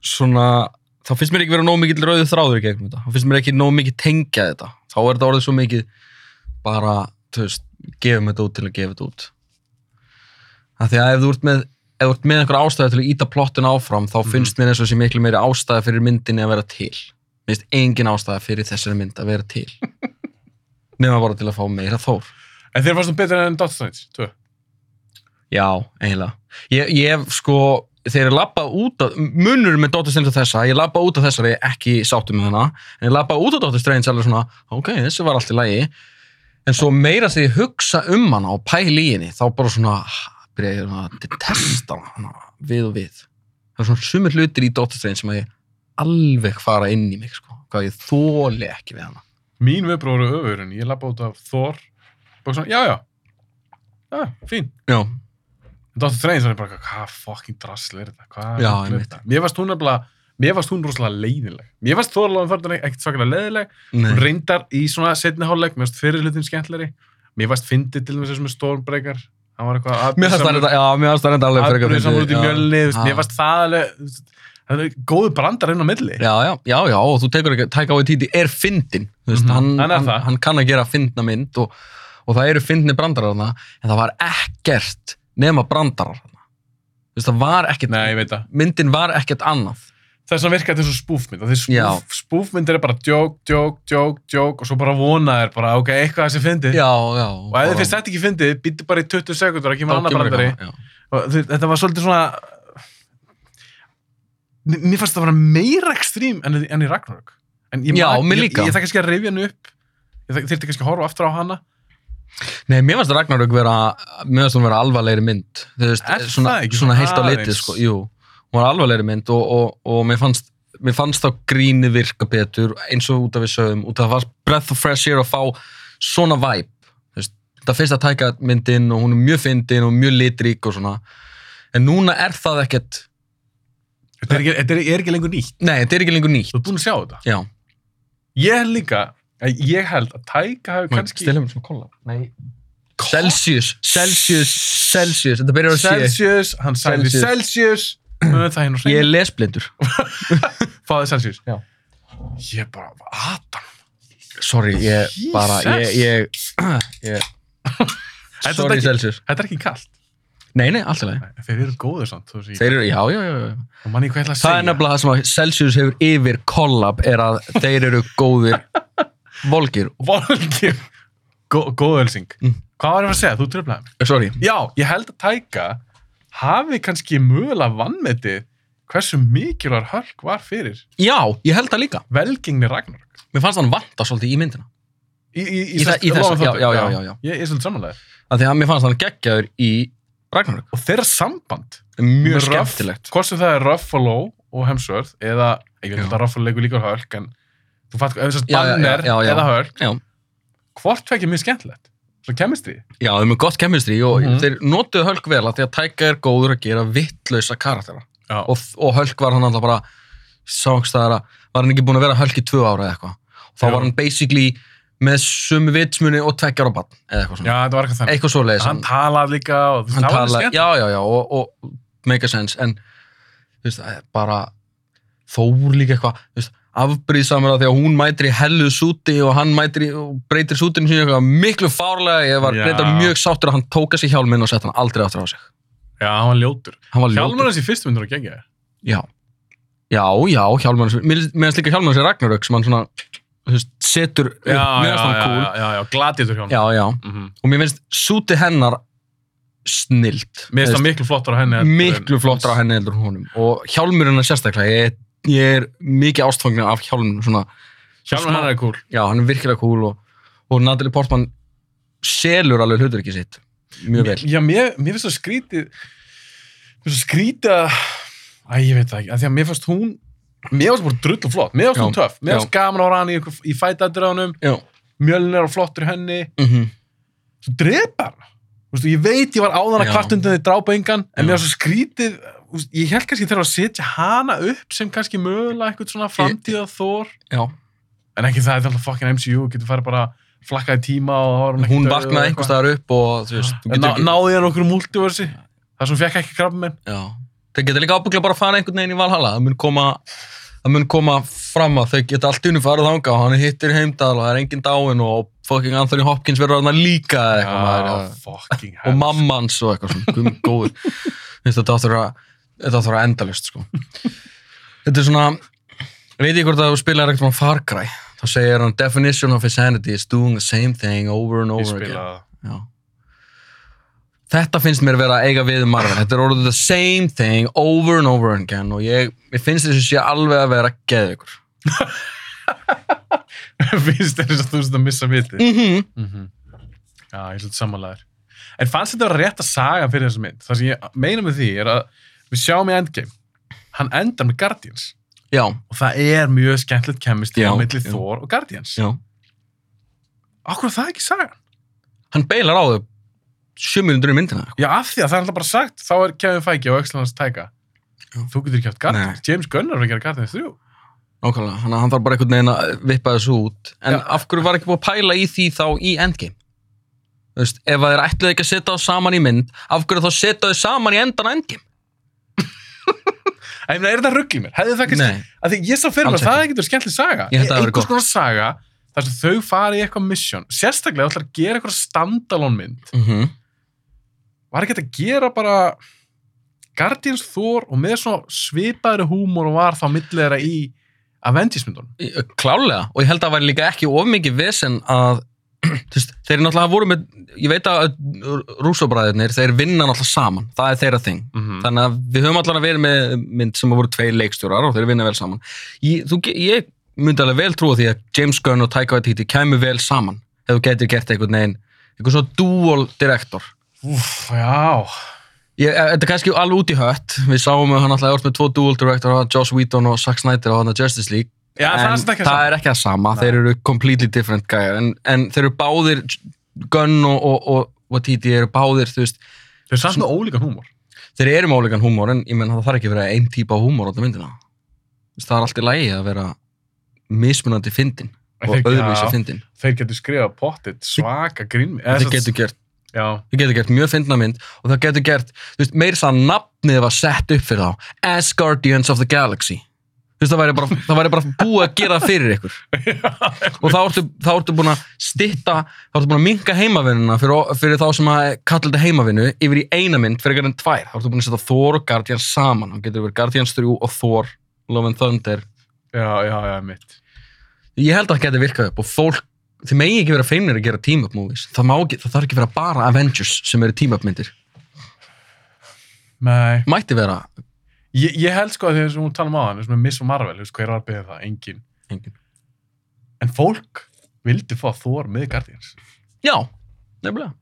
S2: svona þá finnst mér ekki vera nógu mikill rauðu þráður í gegnum þetta þá finnst mér ekki nógu mikill tengja þetta þá er þetta orðið svo mikið bara, þú veist, gefum þetta út til að gefa þetta út af því að ef þú ert með ef þú ert með einhver ástæði til að íta plottin áfram þá
S1: Mhm.
S2: finnst mér eins og sé miklu meiri ástæði fyrir myndinni að vera til mér finnst engin ástæði fyrir þessari mynd að vera til nema bara til að fá meira þór
S1: En þeir fannst þú betur enn Doctor Strange 2?
S2: Já, eiginlega. Ég, ég hef, sko, þegar ég labbað út af, munur með Dóttir Strange og þessa, ég labbað út af þessari ekki sáttu með hana, en ég labbað út af Dóttir Strange alveg svona, ok, þessi var allt í lagi, en svo meira þegar ég hugsa um hana og pæli í henni, þá bara svona, ah, byrja ég svona að detesta hana, hana, við og við. Það er svona sumir hlutir í Dóttir Strange sem að ég alveg fara inn í mig, sko, hvað ég þóli ekki við hana.
S1: Mín viðbróður eru öfurinn, ég lappa út af Thor bara svona, já, já Já, fín
S2: Já,
S1: En Doctor Strange var ég bara, hvað fucking drassl er þetta? Hvað
S2: Já,
S1: rugl er
S2: einmitt.
S1: þetta? Mér fannst hún nefnilega Mér fannst hún rosalega leiðinleg. Mér fannst Thor alveg þarna ekkert svakalega leiðinleg. Hún
S2: nei,
S1: reyndar í svona setni hálfleik, mér fannst fyrir hlutin skemmtleri. Mér fannst fyndið til þess með Stormbreaker. Hann var eitthvað
S2: mér fannst það reynda- já, mér fannst það reynda alveg frekar
S1: aðbröðið saman út í
S2: fyndið, já.
S1: mjölni. þú veist,
S2: Já.
S1: Mér fannst það alveg, þú veist, það er góðu brandar inn á milli.
S2: já, já, já, já, og þú tekur ekki Taika Waititi er fyndin þú veist,
S1: Mhm,
S2: hann,
S1: hann er
S2: hann,
S1: það.
S2: hann, kann að gera fyndna mynd og, og það eru fyndni brandarar þarna en það var ekkert nema brandarar þarna þú veist, það var ekkert
S1: Nei, ég veit það.
S2: myndin var ekkert annað
S1: þess að virka þetta eins og spúfmynd því spúf,
S2: Já.
S1: spúfmyndir er bara djók, djók, djók, djók og svo bara vona þér bara ok, eitthvað þessi fyndi
S2: já, já,
S1: og ef þið finnst þetta ekki fyndi, býttu bara í 20 sekundur að kemur annar brandari
S2: já.
S1: og þú- þetta var svolítið svona M- mér fannst það vera meira ekstrím en, en í Ragnarök en ég,
S2: Já,
S1: man-
S2: mér
S1: ég,
S2: líka.
S1: ég, ég það kannski að rifja hann upp ég þarf- þyrfti kannski að horfa aftur á hana
S2: nei, mér fannst Ragnarök vera mér fannst hún vera alvarlegri mynd þú veist,
S1: Er
S2: svona,
S1: það ekki?
S2: svona heilt á
S1: Aðeins.
S2: litið sko, jú, hún var alvarlegri mynd og, og, og mér fannst mér fannst þá grínið virka betur eins og út af við sögum út af það var breath of fresh air að fá svona vibe þú veist, þetta fyrst að tæka myndin og hún er mjög fyndin og mjög litrík og svona en núna er það ekkert
S1: þetta er ekki, þetta er, er ekki lengur nýtt
S2: nei, þetta er ekki lengur nýtt
S1: þú ert búin að sjá þetta
S2: já,
S1: ég held líka, ég held að Tæka hafi kannski
S2: stilum um sem kolla nei Celsius, Celsius, Celsius þetta byrjar að sé
S1: Celsius, hann sagði
S2: Celsius.
S1: Celsius Höfum við það hérna á hreinu?
S2: ég er lesblindur
S1: Fáðu Celsius?
S2: Já.
S1: Ég bara, Adam.
S2: sorry, ég
S1: Jesus.
S2: bara ég, ég, ég
S1: Þetta er
S2: sorry
S1: ekki-
S2: Celsius
S1: Þetta er ekki kallt.
S2: nei, nei, alltaf leið
S1: Nei, Þeir eru góður samt, þú veist.
S2: Þeir eru, já, já, já, já.
S1: Og manni hvað ég ætla að segja.
S2: Það er nefnilega það sem að Celsius hefur yfir kollab er að þeir eru góðir volgir.
S1: Volgir. Gó, góðölsing.
S2: Mm.
S1: Hvað var ég að segja? Þú tröflaði mig.
S2: Eh, Sorry.
S1: Já, ég held að tæka hafi kannski mögulega vannmetið hversu mikilvægur Hölk var fyrir
S2: Já, ég held það líka.
S1: velgingni Ragnarök.
S2: Mér fannst hann vanta svolítið í myndina.
S1: Í, í,
S2: Í, þa- í þessu, já, já, já, já. já.
S1: Ég ég er svolítið samanlega.
S2: Af því að mér fannst hann geggjaður í Ragnarök.
S1: Og þeirra samband,
S2: Mjög
S1: Ruff-
S2: skemmtilegt.
S1: hvort sem það er Ruffalo og Hemsworth, eða, ég veit
S2: Já.
S1: að Ruffalo leikur líka Hölk, en þú fatt, ef þessast
S2: Já, já, já,
S1: banner
S2: já, já.
S1: eða Hölk,
S2: Já.
S1: hvort tvekja mjög skemmtilegt. Svo kemist því.
S2: Já, þeir eru með gott kemistri og
S1: Mhm.
S2: þeir notuðu Hölk vel að því að Tæka er góður að gera vittlausa karaktera.
S1: Já.
S2: Og, og Hölk var hann alltaf bara, sángstæðara, var hann ekki búin að vera Hölk í tvö ára eða eitthvað. Þá
S1: Já.
S2: var hann basically með sömu vitsmunni og Tækjar á bann eða eitthvað
S1: já,
S2: svona.
S1: þetta var eitthvað þannig.
S2: Eitthvað svo leiðis.
S1: Hann talað líka og þú veist,
S2: hann
S1: það var alveg
S2: tala,
S1: skemmt.
S2: já, já, já, og, og make a sense, en þú veist, það er bara Þór líka eitthvað, þú veist, afbrýðsamur að því að hún mætir í hellu súti og hann mætir í, og breytir sútinu sín eitthvað miklu fárlega, ég var
S1: Já.
S2: breytar mjög sáttur að hann tók að sér hjálminn og sett hann aldrei aftur á sig.
S1: Já, hann var ljótur.
S2: Hann var
S1: Hjálmur
S2: ljótur.
S1: hans í fyrstu myndur að gegja þér.
S2: Já, já, já, hjálminn, mér finnst líka hjálminn sér Ragnarök sem hann svona, þú veist, setur upp,
S1: já,
S2: mér
S1: já,
S2: finnst hann
S1: já,
S2: cool.
S1: já, já, já, gladiður hjá hann
S2: Já, já,
S1: Mhm.
S2: og mér finnst súti hennar snilt.
S1: Mér finnst það miklu flottar á henni heldur en-
S2: miklu flottar á henni heldur en honum og hjálmurinn er sérstaklega ég, er- ég er mikið ástfangin af hjálmurinn svona,
S1: Hjálmur
S2: Smá.
S1: hennar er cool
S2: já, hann er virkilega cool og, og Natalie Portman selur alveg hlutur ekki sitt mjög vel
S1: Já, mér, mér finnst það skrítið Mér finnst það skrítið að Æ, ég veit það ekki, af því að mér finnst hún Mér finnst hún bara drullu flott, mér finnst hún
S2: Já,
S1: töff Mér
S2: já.
S1: finnst gaman ára hann í, ykkur- í fætadröðunum
S2: já,
S1: Mjölnir og flottur í henni
S2: mm
S1: Svo drepar hann Vistu, ég veit ég var áðan að
S2: Já.
S1: kvartundið þið drápa engan en
S2: Já.
S1: mér var svo skrítið, úst, ég held kannski þegar að setja hana upp sem kannski mögulega eitthvað svona framtíða þór
S2: já.
S1: En ekki það, þetta er alltaf fucking MCU, getur farið bara flakkaði tíma og þá var hún
S2: hún vaknaði einhver staðar upp og þú veist, þú
S1: En
S2: getur
S1: ná,
S2: ekki
S1: náði hann okkur multiversi, þar sem hún fekk ekki krabba minn.
S2: já. það getur líka ábygglega bara að fara einhvern veginn í Valhalla það mun koma það mun koma fram að þau geta allt í unni farið þanga og hann hittir heimdal og það er enginn dáin og fucking Anthony Hopkins verður hann líka eða eitthvað maður, eða-
S1: Ah, fucking hell.
S2: og mamma hans og eitthvað svona, gum góður Finnst þetta áttur að þetta áttur að endalist sko þetta er svona ég veit ég hvort að þú spilar ekkert um Far Cry þá segir hann definition of insanity is doing the same thing over and
S1: Ég
S2: over
S1: spila
S2: again
S1: það.
S2: Já. þetta finnst mér vera að eiga við um Marvel þetta er orðið the same thing over and over again og ég, ég finnst þessu sé alveg að vera geð ykkur
S1: Finnst þér eins og þú veist að missa vitið.
S2: mm -hmm.
S1: Mhm. Já, ég er svolítið samanlegaður. En fannst þetta vera rétt að saga fyrir þessa mynd? Það sem ég meina með því er að við sjáum í Endgame, hann endar með Guardians.
S2: já,
S1: Og það er mjög skemmtilegt kemist
S2: Já,
S1: á milli
S2: já.
S1: Thor og Guardians.
S2: já
S1: Akkur það ekki saga?
S2: hann beilar á þau 7 minútur í myndina
S1: Já, af því að það er alltaf bara sagt, þá er Kevin Feige og Öxlan hans tæka.
S2: Já.
S1: Þú getur ekki haft Guardians. James Gunn er að gera Guardians 3.
S2: Nákvæmlega, hann, hann þarf bara einhvern veginn að vippa þessu út en
S1: Já.
S2: af hverju var ekki búið að pæla í því þá í Endgame? Þú veist, ef að þeir ætluðu ekki að setja þá saman í mynd af hverju þá setja þau saman í endan á Endgame?
S1: Æ, ég meina, er þetta ruggl í mér? Hefði það kannski...
S2: Nei,
S1: Að því ég sá fyrir mér
S2: Alls
S1: að það getur skemmtileg saga.
S2: Ég held að það væri
S1: Einhvers
S2: gott.
S1: konar saga þar sem þau fari í eitthvað mission. Sérstaklega ætlar að gera eitthvað standalone mynd.
S2: mm
S1: Var ekki hægt að gera bara Guardians Thor og með svona svipaðri húmor og var þá millið þeirra í Avengers myndunum.
S2: klálega og ég held að það væri líka ekki of mikið vesen að þú veist, þeir náttúrulega voru með ég veit að rúsobræðirnir þeir vinna náttúrulega saman, það er þeirra þing
S1: Mm -hmm.
S2: þannig að við höfum allan að vera með mynd sem að voru tvei leikstjórar og þeir vinna vel saman ég, þú, ge- ég myndi alveg vel trúa því að James Gunn og Taika Waititi kæmu vel saman ef þú getur gert eitthvað neginn eitthvað svona dual director
S1: Úf, já.
S2: ég, e- þetta er kannski alveg út í hött við sáum að hann alltaf orð með tvo dual director það var Joss Whedon og Zack Snyder og hann að Justice League
S1: Já, það er
S2: en
S1: samt ekki að
S2: það
S1: saga.
S2: er ekki að sama
S1: Nei.
S2: þeir eru completely different gæjar en, en þeir eru báðir Gunn og, og, og Waititi eru báðir þú veist,
S1: Þau er samt með ólíkan húmor.
S2: þeir eru með ólegan húmór en ég menn það þarf ekki að vera einn típa af húmór á þetta myndina Þess, það er allt í lægi að vera mismunandi fyndin og
S1: Þeir-
S2: öðruvísa
S1: já,
S2: fyndin
S1: Þeir getur skrifað pottit svaka grinn.
S2: þeir getur gert,
S1: Já,
S2: þeir getur gert mjög fyndna mynd og það getur gert, þú veist, meira það nafnið var sett upp fyrir þá As Guardians of the Galaxy þú veist, það væri bara, það væri bara búið að gera það fyrir ykkur og þá ertu, þá ertu búin að stitta þá ertu búin að minka heimavinnuna fyrir, fyrir þá sem að kalla þetta heimavinnu yfir í eina mynd fyrir enn tvær þá ertu búin að setja Thor og Guardians saman þá getur verið Guardians 3 og Thor Love and Thunder
S1: já, já, já, mitt.
S2: ég held að það geti virkað upp og fólk þið megi ekki vera feimnir að gera team-up movies það, má ekki, það þarf ekki að vera bara Avengers sem eru team-up myndir
S1: Nei.
S2: mætti vera
S1: Ég, ég held sko að því að hún tala um aðan, þessum við missum Marvel, þú veist, hver var beðið það? Engin.
S2: Engin.
S1: En fólk vildi fá Thor með Guardians.
S2: Já, nefnilega.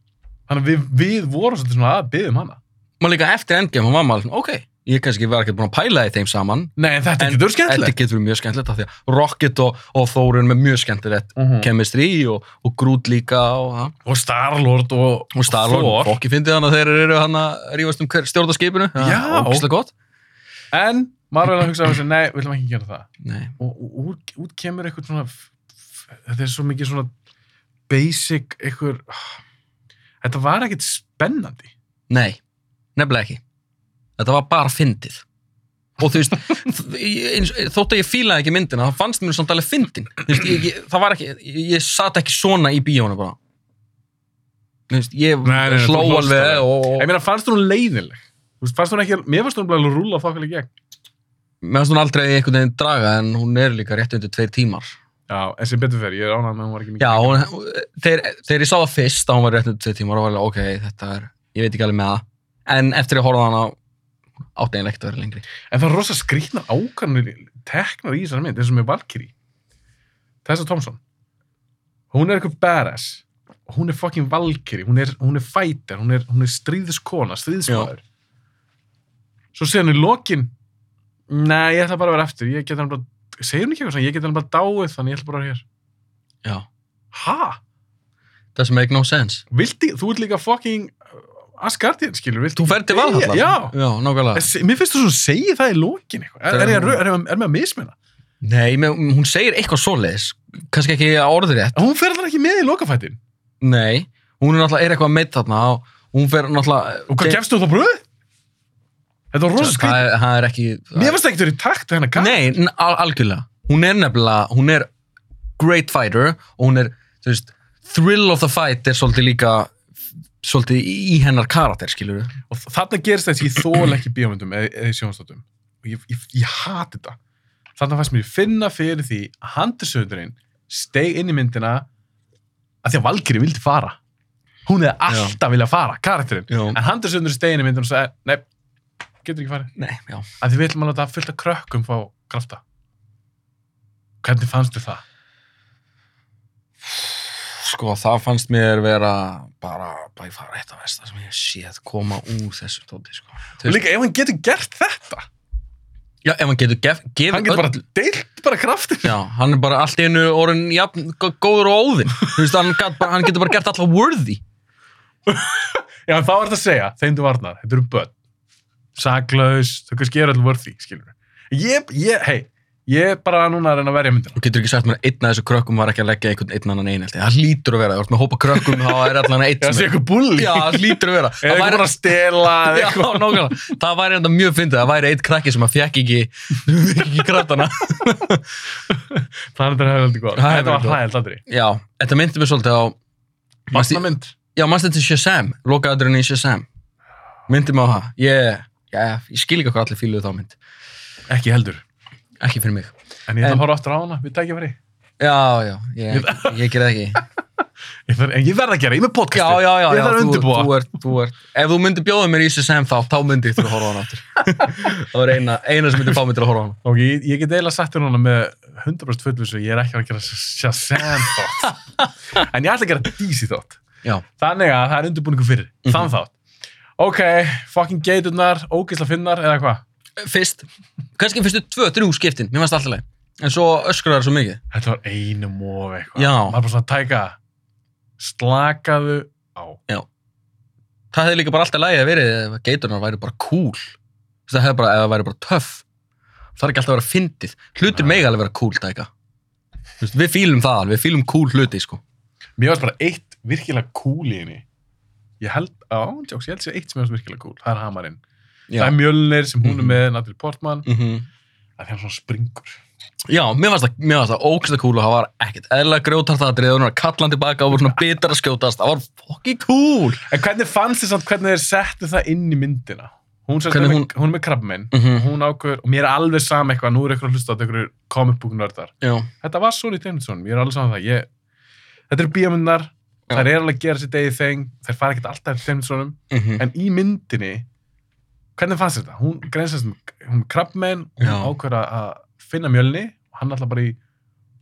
S1: Þannig að við, við vorum svolítið svona að beðum hana.
S2: Maður líka eftir endgame, maður maður, svona, ok, ég kannski var ekki búin að pæla í þeim saman.
S1: Nei, en þetta
S2: En-
S1: getur
S2: Þetta
S1: skemmtilegt.
S2: getur verið mjög skemmtilegt af því að Rocket og, og Thor er með mjög skemmtilegt
S1: Mm -hmm.
S2: chemistry og, og Groot líka og það.
S1: Og Star-Lord og,
S2: Og Star-Lord, fokki fyndið hann að þeir eru hann að rífast um hver stjórnarskipinu.
S1: Já.
S2: Ógislega gott.
S1: En Marvel að hugsa að þessi, nei, við ætlum ekki að gera það.
S2: Nei.
S1: og og úr, út kemur eitthvað svona f- f- þetta er svo mikið svona basic eitthvað þetta var ekkert spennandi
S2: Nei, nefnilega ekki. Þetta var bara fyndið. Og þú veist, þ- ég- eins- þótt að ég fílaði ekki myndina, þá fannst mér samt alveg fyndin. Þú veist, ég, ég, það var ekki, ég, ég sat ekki svona í bíónu bara. Þú veist, ég
S1: Nei, nei, nei, þú
S2: hló
S1: hlóst
S2: alveg
S1: alveg.
S2: og,
S1: ég
S2: og
S1: meina fannst hún leiðinleg Þú veist, fannst hún ekki, mér fannst hún bara alveg rúla fokkileg gegn
S2: mér fannst hún aldrei einhvern veginn draga en hún er líka rétt undir tveir tímar.
S1: já, en sem betur fyrir, ég er ánægð með að hún var ekki mikið
S2: Já, hún, þeir, þegar ég sá það fyrst að hún var rétt undir tveir tímar og var alveg, ok, þetta er, ég veit ekki alveg með það. En eftir ég horfði á hana átti eiginlega ekkert að vera lengri.
S1: en það er rosa skrýtna ákvarðanir teknar í þessari mynd, eins og með Valkyrie Tessa Thompson hún er eitthvað badass hún er fucking Valkyrie, hún er, hún er fighter hún er, hún er stríðskona, stríðsmaður svo segir hún í lokin nei, ég ætla bara að vera eftir ég geta hann bara, segir hún ekki eitthvað svona, ég geta hann bara dáið þannig ég ætla bara að vera hér
S2: Já.
S1: ha,
S2: Doesn't make no sense.
S1: vildi, þú ert líka fucking uh, Asgardian, skilur, vildi
S2: Þú ferð til Valhalla?
S1: já,
S2: Já, nákvæmlega.
S1: En se- mér finnst þú svona segir það í lokin eitthvað er, er, ég að rau- er, er, er með að mismina
S2: Nei, með, hún segir eitthvað svoleiðis, kannski ekki orðrétt.
S1: En hún fer alltaf ekki með í lokafætin.
S2: Nei, hún er náttúrulega er eitthvað meitt þarna og hún fer náttúrulega...
S1: Og hvað gefstu þú þá bröð? Þetta var rosa skrítið.
S2: Það það er ekki...
S1: Mér finnst það ekkert verið í takt við hennar kall.
S2: Nei, n- al algjörlega. Hún er nefnilega, hún er great fighter og hún er, þú veist, thrill of the fight er svolítið líka, svolítið í hennar karakter, skilur við.
S1: Og þarna gerist þess að ég þóla ekki í bíómyndum eða, eða í sjónastátum. Og ég, ég, ég hati þetta. Þarna fannst mér ég finna fyrir því að handisöðurinn steig inn í myndina að því að Valkyri vildi fara. Hún hefði alltaf viljað fara, karakterinn.
S2: Já.
S1: En handisöðurinn steig inn í myndina og sagði, nei, getur ekki farið.
S2: Nei, já.
S1: Að því við ætlum að láta fullt af krökkum fá krafta. Hvernig fannstu það?
S2: Sko, það fannst mér vera bara, bara ég fara eitt af þess það sem ég séð koma úr þessu tóti, sko. Þú
S1: Og
S2: veist-
S1: líka ef hann getur gert þetta
S2: Já, ef hann getur gef, gefið
S1: Hann getur
S2: öll-
S1: bara deilt bara kraftin
S2: Já, hann er bara allt í einu orðin jafn, gó- góður og óðinn. Þú veist, hann, gat, bara, hann getur bara gert alltaf worthy.
S1: Já, en þá er þetta að segja, þeim þú varnar Þetta eru börn, saklaus Þau kannski eru allir worthy, skilur Ég, ég, hei, ég er bara núna að reyna að verja myndina
S2: Þú getur ekki sagt mér að einn af þessu krökkum var ekki að leggja einhvern einn annan einhelti. Það hlýtur að vera. Þú ert með hópa krökkum, þá er allan einn
S1: Já, það sé
S2: sem er.
S1: eitthvað bulli
S2: Já, það hlýtur að vera.
S1: Eða
S2: Það
S1: eitthvað
S2: væri,
S1: bara að stela eða
S2: já,
S1: eitthvað.
S2: nákvæmlega. Það væri enda mjög fyndið. Það væri einn krakki sem að fekk ekki, fékk ekki kraftana.
S1: Það er þetta hefðaldi góð
S2: Það er
S1: Þetta var
S2: gott.
S1: hlæðald aldrei
S2: Já, þetta myndi mér svolítið á... Manstu-
S1: Vatna mynd
S2: Já, mannstu þetta Shazam, lokaðurinn í Shazam. Myndi mig á það. Ég, ég, ég skil ekki okkur allir fíluðu þá mynd.
S1: Ekki heldur
S2: Ekki fyrir mig.
S1: En ég ætla
S2: En-
S1: að horfa aftur á hana, við tækja fyrir
S2: Já, já, ég, ég, ég gerði ekki.
S1: ég þarf, En ég verð að gera, ég er með podcasti
S2: já, já, já,
S1: Ég þarf
S2: já,
S1: að undirbúa
S2: þú, þú ert, þú ert, ef þú myndir bjóða mér í SSM þá, þá myndi ég til að horfa á hana aftur það var eina, eina sem myndi fá mig til að horfa á hana
S1: Ok, ég, ég get eiginlega sagt þér núna með 100% fullvissu, ég er ekki að gera Shazam þátt. en ég ætla að gera DC þátt.
S2: já, Mhm.
S1: Þannig að það er undirbúningu fyrir, þann þátt. Ok, fucking geiturnar, ógisla finnar eða hvað?
S2: fyrst, kannski fyrstu tvö, þrjú skiptin, mér fannst alltaf leið en svo öskraðar svo mikið
S1: Þetta var einum of eitthvað.
S2: Já.
S1: Maður bara svona tæka, slakaðu á.
S2: það hefði líka bara alltaf lægið að verið ef geiturnar væri bara cool Þú veist, það hefði bara, ef það væri bara töff það er ekki alltaf að vera fyndið, hlutir
S1: Nei.
S2: mega alveg vera cool dæka Þú veist, við fílum það, alveg, við fílum cool hluti sko.
S1: Mér varst bara eitt virkilega cool í henni. Ég held, á, jokes, ég held sér eitt sem er virkilega cool, það er hamarinn.
S2: já.
S1: Það er mjölnir sem hún er
S2: Mhm.
S1: með, Natalie Portman,
S2: Mhm.
S1: að því hann svona springur.
S2: Já, mér fannst það, mér fannst það ógæslega cool og það var ekkert eðla grjótart aðrið og hún var að kalla hann tilbaka og voru svona bitar að skjótast það var fokki cool
S1: En hvernig fannst þið samt hvernig þeir settu það inn í myndina? Hún, sem sagt er
S2: Hvernig
S1: með,
S2: hún-
S1: hún... hún er með krabbminn,
S2: mm
S1: hún ákveður, og mér er alveg sama eitthvað, nú er eitthvað að hlusta á þetta einhverju comic book nördar.
S2: Já,
S1: Þetta var Sony Davidson, ég er alveg sama það. Ég... Þetta eru bíómyndar,
S2: Já. mhm.
S1: þær eru alveg að gera sér degið þeng, þær fara ekkert alltaf eftir Davidsonum,
S2: mm -hmm.
S1: en í myndinni hvernig fannst þetta? Hún greinsast hún krabbmein, hún
S2: Já.
S1: ákveður að- að finna mjölni, hann alltaf bara í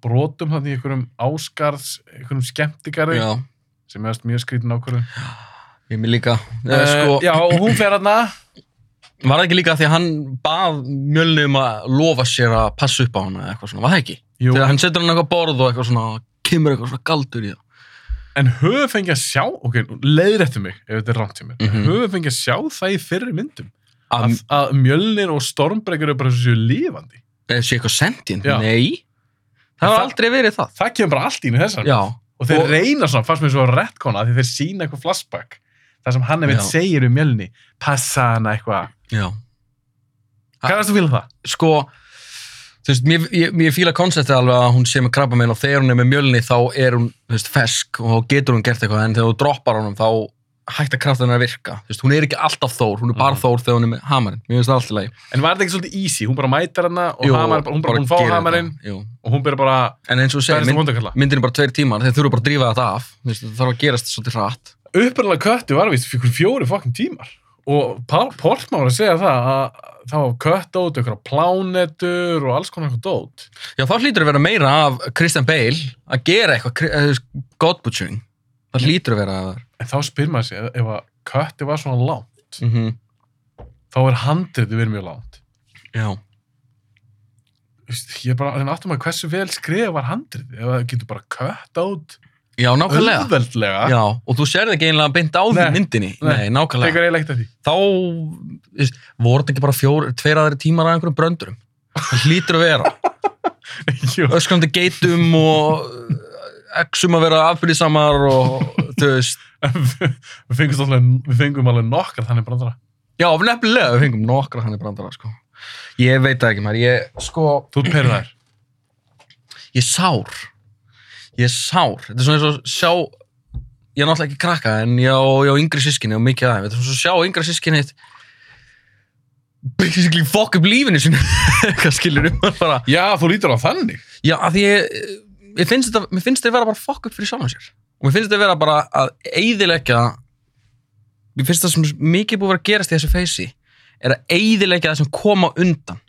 S1: brotum þannig í einhverjum áskarðs, einhverjum skemmtigarði
S2: Já,
S1: sem ég veist mjög skrítin ákveður.
S2: ég mér líka. Uh,
S1: Uh,
S2: sko,
S1: já, og hún fer aðna,
S2: Var það ekki líka því að hann bað Mjölni um að lofa sér að passa upp á hana eða eitthvað svona, var það ekki?
S1: jú,
S2: Þegar hann setur hann á eitthvað borð og eitthvað svona, kemur eitthvað svona galdur í það.
S1: en höfum fengið að sjá, ok, leiðir eftir mig ef þetta er rámt hjá mér, mm
S2: Mhm.
S1: höfum fengið að sjá það í fyrri myndum,
S2: Að
S1: að, að mjölnir og stormbrekkar eru bara eins og séu lífandi.
S2: eða sé eitthvað sentient,
S1: Já.
S2: nei.
S1: En
S2: Það var
S1: það-
S2: aldrei verið það.
S1: Það kemur bara allt í einu þessar.
S2: Já,
S1: og þeir
S2: Og-
S1: reyna svona, fannst mér svo að rettkona því þeir sína eitthvað flashback þar sem hann einmitt
S2: Já.
S1: segir um mjölni passa hana eitthvað,
S2: já.
S1: hvað er það að fíla um það?
S2: Sko, þú veist, mér, ég, mér fíla konceptið alveg að hún sé með krabba og þegar hún er með Mjölni þá er hún, þú veist, fesk og þá getur hún gert eitthvað en þegar þú droppar honum þá hægt að krafta hennar að virka. Þú veist, hún er ekki alltaf Þór, hún er bara
S1: Mhm.
S2: Þór þegar hún er með hamarinn. Mér finnst það allt í lagi.
S1: en var þetta ekki svolítið easy, hún bara mætir hana og
S2: Jú,
S1: hamar, hún bara, hún
S2: gerir
S1: fá
S2: þetta,
S1: hamarinn
S2: jú.
S1: og hún byrja bara
S2: En eins og þú segir,
S1: berðist um
S2: mynd,
S1: vondakalla
S2: myndin er bara tveir tímar, þeir þurfa bara að drífa þetta af Þú veist, það þarf að gerast svolítið hratt
S1: uppröðlega köttu var vist fyrir fjóri fokkin tímar og Pál Portman var að segja það að það var kött át, einhverja plánetur og alls konar eitthvað dót
S2: Já, þá hlýtur að vera meira af Christian Bale að gera eitthvað, kri- eh, þú veist, God Butchering Það hlýtur að vera að vera
S1: en þá spyr maður sig, ef- ef að kötti var svona langt
S2: mm -hmm.
S1: þá er handriði verið mjög langt
S2: Já,
S1: Þú veist, ég er bara að reyna aftur maður hversu vel skrifa var handrið ef það getur bara kött át
S2: já, nákvæmlega
S1: auðveldlega
S2: Já, og þú sérði ekki einlega beint á því
S1: Ah. Nei.
S2: myndinni Nei,
S1: Nei.
S2: nákvæmlega
S1: tekur eiginlega eitt af því
S2: Þá, þú veist, voru þetta ekki bara fjór, tveir aðri tímar að einhverjum bröndurum Það hlýtur að vera
S1: Jú.
S2: Öskrandi geitum og eh, exum að vera afbyrðisamar og, þú veist
S1: við fengum alveg, við fengum alveg nokkar þannig bara þar
S2: Já, nefnilega, við fengum nokkra þannig brandara, sko. Ég veit það ekki, maður, ég, sko,
S1: þú ert perraður
S2: ég er sár. Ég er sár. Þetta er svona eins og sjá, ég er náttúrulega ekki krakka, en ég á, ég á yngri sískinni og mikið aðeins. Þetta er svona eins og sjá yngri sískinni eitt, basically fuck up lífinu sinu, eitthvað skilur um að bara.
S1: já þú lítur á þannig
S2: Já, af því ég, ég finnst þetta, mér finnst þetta vera bara fuck up fyrir sjálfum sér. Og mér finnst þetta vera bara að eyðileggja, mér finnst það sem mikið búið að vera að gerast í þessu feysi, er að eyðileggja það sem koma undan.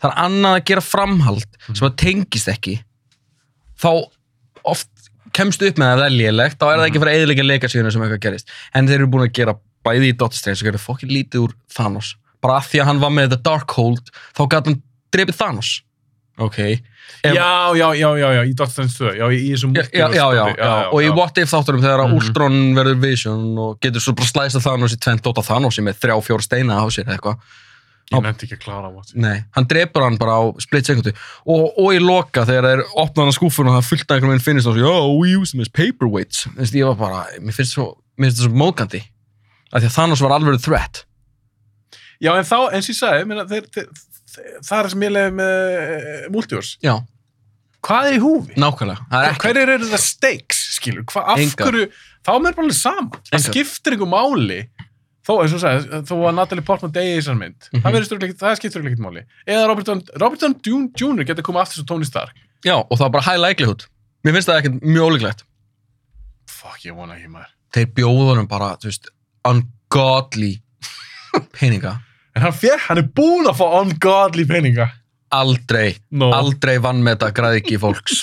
S2: Það er annað að gera framhald sem að tengist ekki. Þá oft kemst upp með að það er lélegt, þá er það ekki að fara að eyðileggja leikasíðuna sem eitthvað gerist. En þeir eru búin að gera bæði í Doctor Strange og gera fokkin lítið úr Thanos. Bara að því að hann var með þetta Darkhold, þá gæti hann drepið Thanos. Ok. Ef-
S1: já já já já já í Doctor Strange 2 já í, í þessum sko,
S2: Já, já, já, já, já, og í What If þáttunum þegar mm
S1: Mhm.
S2: Ultron verður Vision og getur svo bara slæsað Thanos í tvent dóta Thanos í með þrjá, fjóra steina á sér eða eitthvað.
S1: ég nefndi ekki að klára á What If.
S2: Nei, hann drepur hann bara á split sekundu og, og í loka þegar það er opnað hann skúfun og það er fullt af einhverjum minn finnist og svo, já, we use them as paperweights. Þú veist, ég var bara, mér finnst svo, mér finnst það svo mókandi af því að Thanos var alveg threat.
S1: já en þá eins og ég sagði minna, þeir, þeir, þeir, það er sem ég leiði með eh, Multiverse
S2: Já,
S1: hvað er í húfi?
S2: nákvæmlega. Það er ekki,
S1: hverjir eru það stakes, skilur, hva, af
S2: Engar.
S1: hverju þá er mér bara alveg sama, það
S2: Engar.
S1: skiptir einhver máli þó, eins og sagði, þó að Natalie Portman degi í þessar mynd, mm
S2: Mhm.
S1: -hmm. það skiptir ekki máli, eða Robert Down- Robert Down Jr. getur komið aftur sem Tony Stark
S2: já, og það er bara high likelihood. Mér finnst það ekkert mjög ólíklegt.
S1: fuck, ég vona ekki maður
S2: Þeir bjóðunum bara, þú veist, ungodly peninga.
S1: en hann fér, hann er búinn að fá ungodly peninga
S2: Aldrei
S1: no.
S2: aldrei vann með þetta græðiki fólks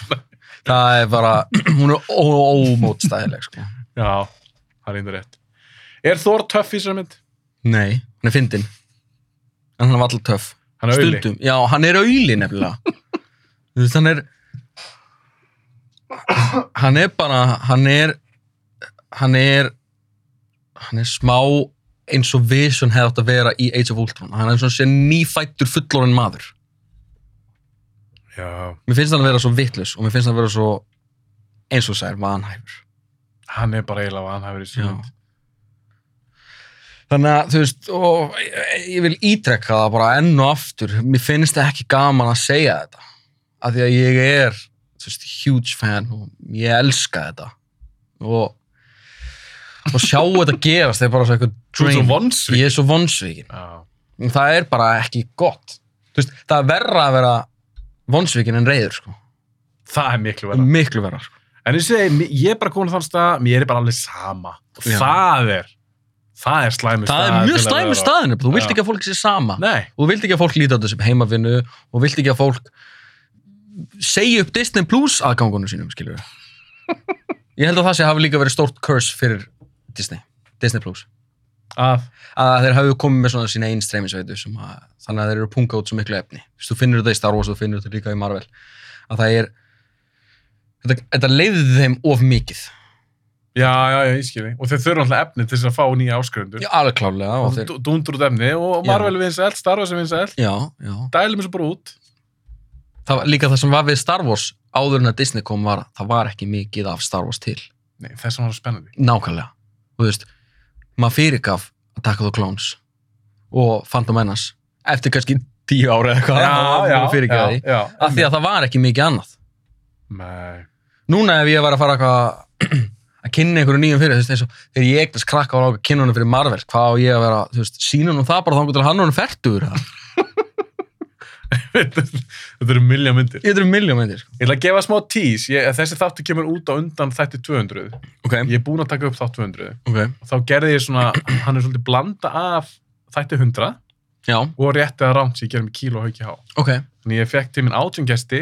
S2: það er bara hún er ó- ómótstæðileg sko.
S1: já, það er einnig rétt er Thor töff í þessar mynd?
S2: nei, hann er fyndin en hann var alltaf töff
S1: hann er auðli,
S2: stundum, já, hann er auðli nefnilega þú veist, hann er hann er bara hann er hann er hann er smá eins og Vision hefði átt að vera í Age of Ultron hann er eins og sé nýfættur fullorinn maður
S1: já,
S2: mér finnst hann að vera svo vitlaus og mér finnst hann að vera svo eins og sær vanhæfur
S1: hann er bara eiginlega vanhæfur í þessar
S2: Já.
S1: mynd
S2: Þannig að, þú veist, og ég- ég vil ítrekka það bara enn og aftur. Mér finnst það ekki gaman að segja þetta. Af því að ég er, þú veist, huge fan og ég elska þetta. Og, og sjá þetta gerast, það er bara svo eitthvað
S1: þú ert svo
S2: drain.
S1: vonsvík
S2: Ég er svo vonsvíkin.
S1: já,
S2: Það er bara ekki gott. Þú veist, það er verra að vera vonsvíkin en reyður, sko.
S1: það er miklu verið
S2: Miklu verra, sko.
S1: En ég segi, mi- ég er bara komin á þann stað, mér er bara alveg sama. Og
S2: Já.
S1: það er, það er slæmi
S2: Það er mjög slæmi staðinu, þú vilt
S1: Já.
S2: ekki að fólk sé sama.
S1: Nei,
S2: Þú vilt ekki að fólk líti á þessu heimavinnu og vilt ekki að fólk segja upp Disney Plus aðgangunum sínum, skilur við. Ég held að það sé hafi líka verið stórt curse fyrir Disney, Disney Plus.
S1: að
S2: Að þeir hafi komið með svona sína einn streymisveitu sem að, þannig að þeir eru að punga út svo miklu efni. Þú veist, þú finnur þetta í Star Wars og þú finnur þetta líka í Marvel. Að það er, þetta, þetta leiði þeim of mikið.
S1: Já, já, já, ég skilji. Og þeir þurfa alltaf efni til þess að fá nýja áskrifundur.
S2: Já, alveg klálega. Og þeir,
S1: Dúndur út efni og
S2: Já.
S1: Marvel vinsælt, Star Wars vinsælt,
S2: já, já.
S1: dælum þessu bara út.
S2: það var líka það sem var við Star Wars áður en að Disney kom var að það var ekki mikið af Star Wars til
S1: Nei, þess að var það spennandi.
S2: nákvæmlega og þú veist, maður fyrirgaf að taka þú Clones og Phantom Menace eftir kannski tíu ára eða eitthvað þá var maður fyrirgaf því
S1: já.
S2: af því að það var ekki mikið annað
S1: Nei,
S2: núna ef ég var að fara eitthvað að kynna einhverju nýjum fyrir þú veist, eins og þegar ég eignast krakka og lága kynna honum fyrir Marvel hvað á ég að vera, þú veist, sína honum það bara þá til hann honum fertur
S1: þetta eru milja myndir.
S2: ég er um miljón myndir sko.
S1: Ég ætla að gefa smá tís. Ég, þessi þáttu kemur út á undan þætti 200.
S2: okay.
S1: Ég er búinn að taka upp þátt 200.
S2: Okay.
S1: Og þá gerði ég svona, hann er svolítið blanda af þætti 100
S2: Já,
S1: og rétti að rámt sem ég gerði með kíl og hauki há.
S2: ok,
S1: Þannig ég fekk til minn átjöngesti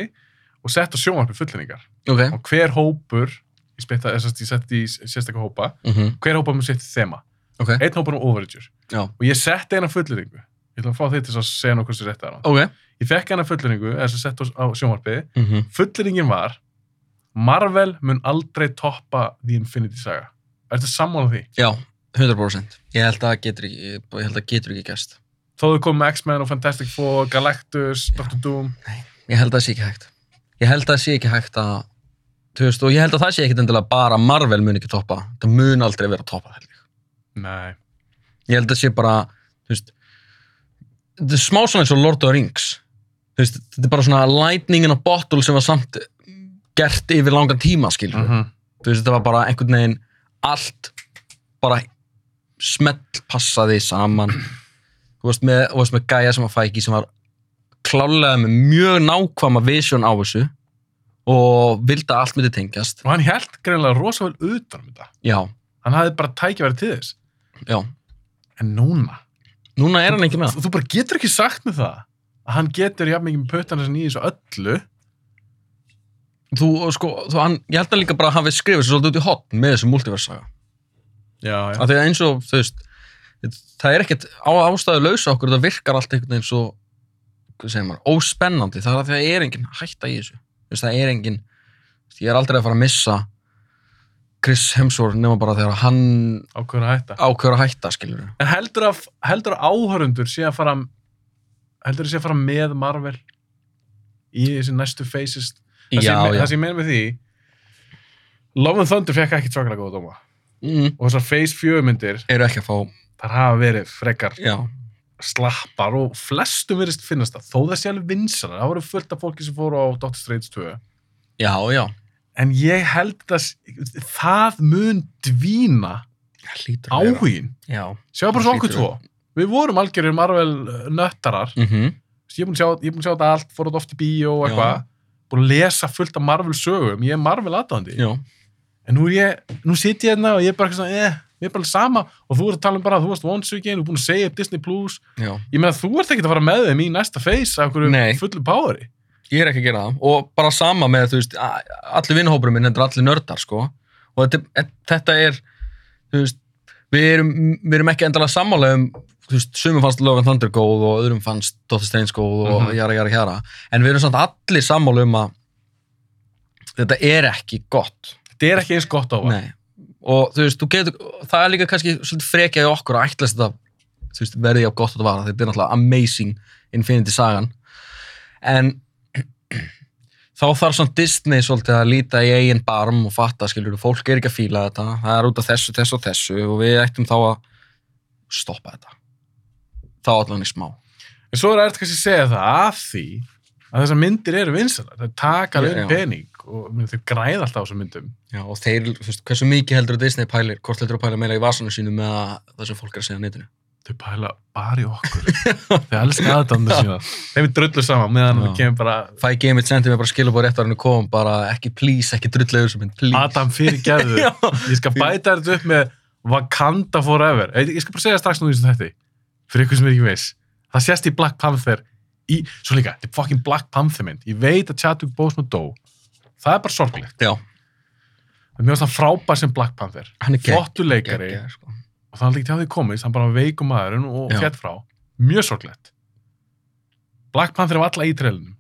S1: og sett á sjónvarpi fullinningar.
S2: ok
S1: Og hver hópur, ég, splitta, ég setti í sérstakka hópa,
S2: mm
S1: hver hópa með sitt þema.
S2: Ok.
S1: Einn hópar um overager.
S2: Já.
S1: Og ég setti eina fullinningu. Ég ætla að fá þig til að segja nokkuð sem rétt er hann.
S2: Ok
S1: Ég fekk eina fullinningu, þess að sett á sjónvarpið.
S2: mm -hmm.
S1: Fullinningin var, Marvel mun aldrei toppa The Infinity Saga. Ertu sammála því?
S2: Já, 100% Ég held að það getur ekki, ég held að það getur ekki gæst
S1: Þó þau kom með X-Men og Fantastic Four, Galactus, Doctor Doom.
S2: Ég held að það sé ekki hægt Ég held að það sé ekki hægt að Þú veist, og ég held að það sé ekkit endilega bara Marvel mun ekki toppa Það mun aldrei vera toppa held ég
S1: Nei.
S2: Ég held að það sé bara, þú veist Þetta er smá svona eins og Lord of the Rings Þú veist, þetta er bara svona lightning in a bottle sem var samt gert yfir langan tíma, skilur
S1: Mm
S2: Þú veist, þetta var bara einhvern veginn allt bara smelt passaði saman. Þú veist, með, þú veist með gæja sem var fæki sem var klálega með mjög nákvæma vision á þessu og vildi að allt myndi tengjast.
S1: Og hann held greinlega rosa vel utan um þetta.
S2: Já,
S1: Hann hafði bara tækifæri til þess.
S2: já.
S1: En núna,
S2: Núna er hann ekki með það.
S1: þú, þú bara getur ekki sagt með það að hann getur jafn mikið með pötan þessan í þessu öllu.
S2: Þú, sko, þú, hann, ég held að líka bara hafi skrifið sér svolítið út í hotn með þessu multiversaga.
S1: Já, já.
S2: Af því að eins og, þú veist, það er ekkert á ástæðu lausa okkur, það virkar allt einhvern veginn svo, hvað segir maður, óspennandi. Það er að því að það er engin hætta í þessu. Þú veist, það er engin, þú veist, ég er aldrei að fara að missa Chris Hemsworth nema bara þegar hann
S1: Á hverju að hætta.
S2: ákveður að hætta, skilur við.
S1: En heldur að, heldur að áhörundur sé að fara, heldur að sé að fara með Marvel í þessi næstu faces. Það
S2: Já,
S1: sem, ég-
S2: já.
S1: Það sem ég meina með því, Love and Thunder fekk ekki svakalega góða dóma.
S2: Mm,
S1: Og þessar face 4 myndir,
S2: eru ekki að fá,
S1: þar hafa verið frekar
S2: já,
S1: slappar og flestum verist finnast það. Þó það sé alveg vinsanar. Það voru fullt af fólki sem fóru á Doctor Strange 2.
S2: já, já.
S1: en ég held að s- það mun dvína
S2: Hlýtur að vera.
S1: áhugin
S2: Já.
S1: sjá bara svo okkur
S2: Hlýtur
S1: tvo við vorum algjörir Marvel uh, nöttarar
S2: Mm -hmm.
S1: ég er búin að sjá, ég er búin að sjá þetta allt, fór út oft í bíó og eitthvað búin að lesa fullt af Marvel sögum ég er Marvel aðdáðandi
S2: Já.
S1: en nú, er ég, nú sit ég hérna og ég er bara eitthvað svona eh, ég er bara alveg sama og þú ert að tala um bara að þú varst vonsugin og búin að segja upp Disney Plus
S2: Já.
S1: ég meina þú ert ekkert að fara með þeim í næsta face af
S2: Nei.
S1: einhverju fullu poweri
S2: Ég er ekki að gera það og bara sama með þú veist, a- allir vinnhópurum minn, þetta er allir nördar sko og þetta, þetta er þú veist, við erum, við erum ekki endalega sammála um, þú veist, sumum fannst Love and Thunder góð og öðrum fannst Dóttir Steins góð og
S1: Mhm.
S2: jara, jara, jara en við erum samt allir sammála um að þetta er ekki gott
S1: þetta er ekki eins gott á það
S2: Nei. og þú veist, þú getur það er líka kannski svolítið frekja í okkur að ætla þetta þú veist, verði á gott að vara þetta er náttúrulega amazing Infinity Sagan en þá þarf svona Disney svolítið að líta í eigin barm og fatta, skilur fólk er ekki að fíla þetta, það er út af þessu, þessu og þessu og við ættum þá að stoppa þetta þá allan í smá
S1: En svo er þetta kannski að segja það af því að þessar myndir eru vinsalar. Það taka alveg
S2: Já, já.
S1: yeah, pening og minn, þau græða alltaf á þessum myndum.
S2: Já, og þeir, þú veist, hversu mikið heldur að Disney pælir, hvort heldur að pæla meira í vasanum sínum með það sem fólk er að segja á netinu
S1: Þau pæla bara í okkur. þau elska aðdándu sína. Þeim er drullu saman meðan
S2: Já.
S1: það kemur bara
S2: Fæ Gameit sendi mér bara skilabóð rétt ára henni kom, bara ekki please, ekki drulllegur sem minn, please.
S1: Adam fyrir gerðu.
S2: Já,
S1: Ég skal bæta þetta upp með Wakanda Forever ég, ég skal bara segja strax nú í þessum þetta fyrir ykkur sem er ekki viss það sést í Black Panther í, svo líka, þetta er fucking Black Panther mynd ég veit að Chadwick Boseman dó það er bara sorglegt
S2: Já.
S1: en mér finnst hann frábær sem Black Panther
S2: Hann er gegn-
S1: flottu leikari
S2: geggjaður, sko.
S1: og það er líka til að því komist, hann bara veikum maðurinn og
S2: Já.
S1: fjett frá, mjög sorglegt Black Panther var alla í trellinum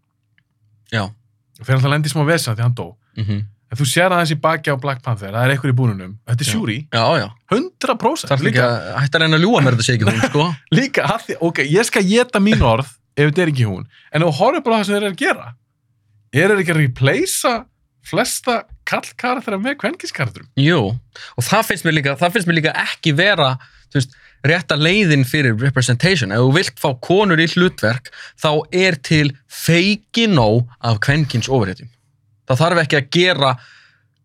S2: Já.
S1: og þegar hann lendi í smá vesa því hann dó
S2: Mhm.
S1: en þú sér aðeins í baki á Black Panther, það er eitthvað í búnunum þetta er
S2: Já.
S1: sjúri,
S2: Já, já.
S1: 100%
S2: Það er líka,
S1: líka,
S2: hætti að reyna að ljúa mér þetta sé ekki hún, sko.
S1: líka að því, ok, ég skal geta mín orð ef þetta er ekki hún, en þú horfir bara á það sem þeir eru að gera eru þeir ekki að replacea flesta kallkaratera með kvenkiskaratrum
S2: Jú. Og það finnst mér líka, það finnst mér líka ekki vera, þú veist, rétta leiðin fyrir representation. Ef þú vilt fá konur í hlutverk, þá er til feiki nóg af kvenkins ofréttum. Það þarf ekki að gera,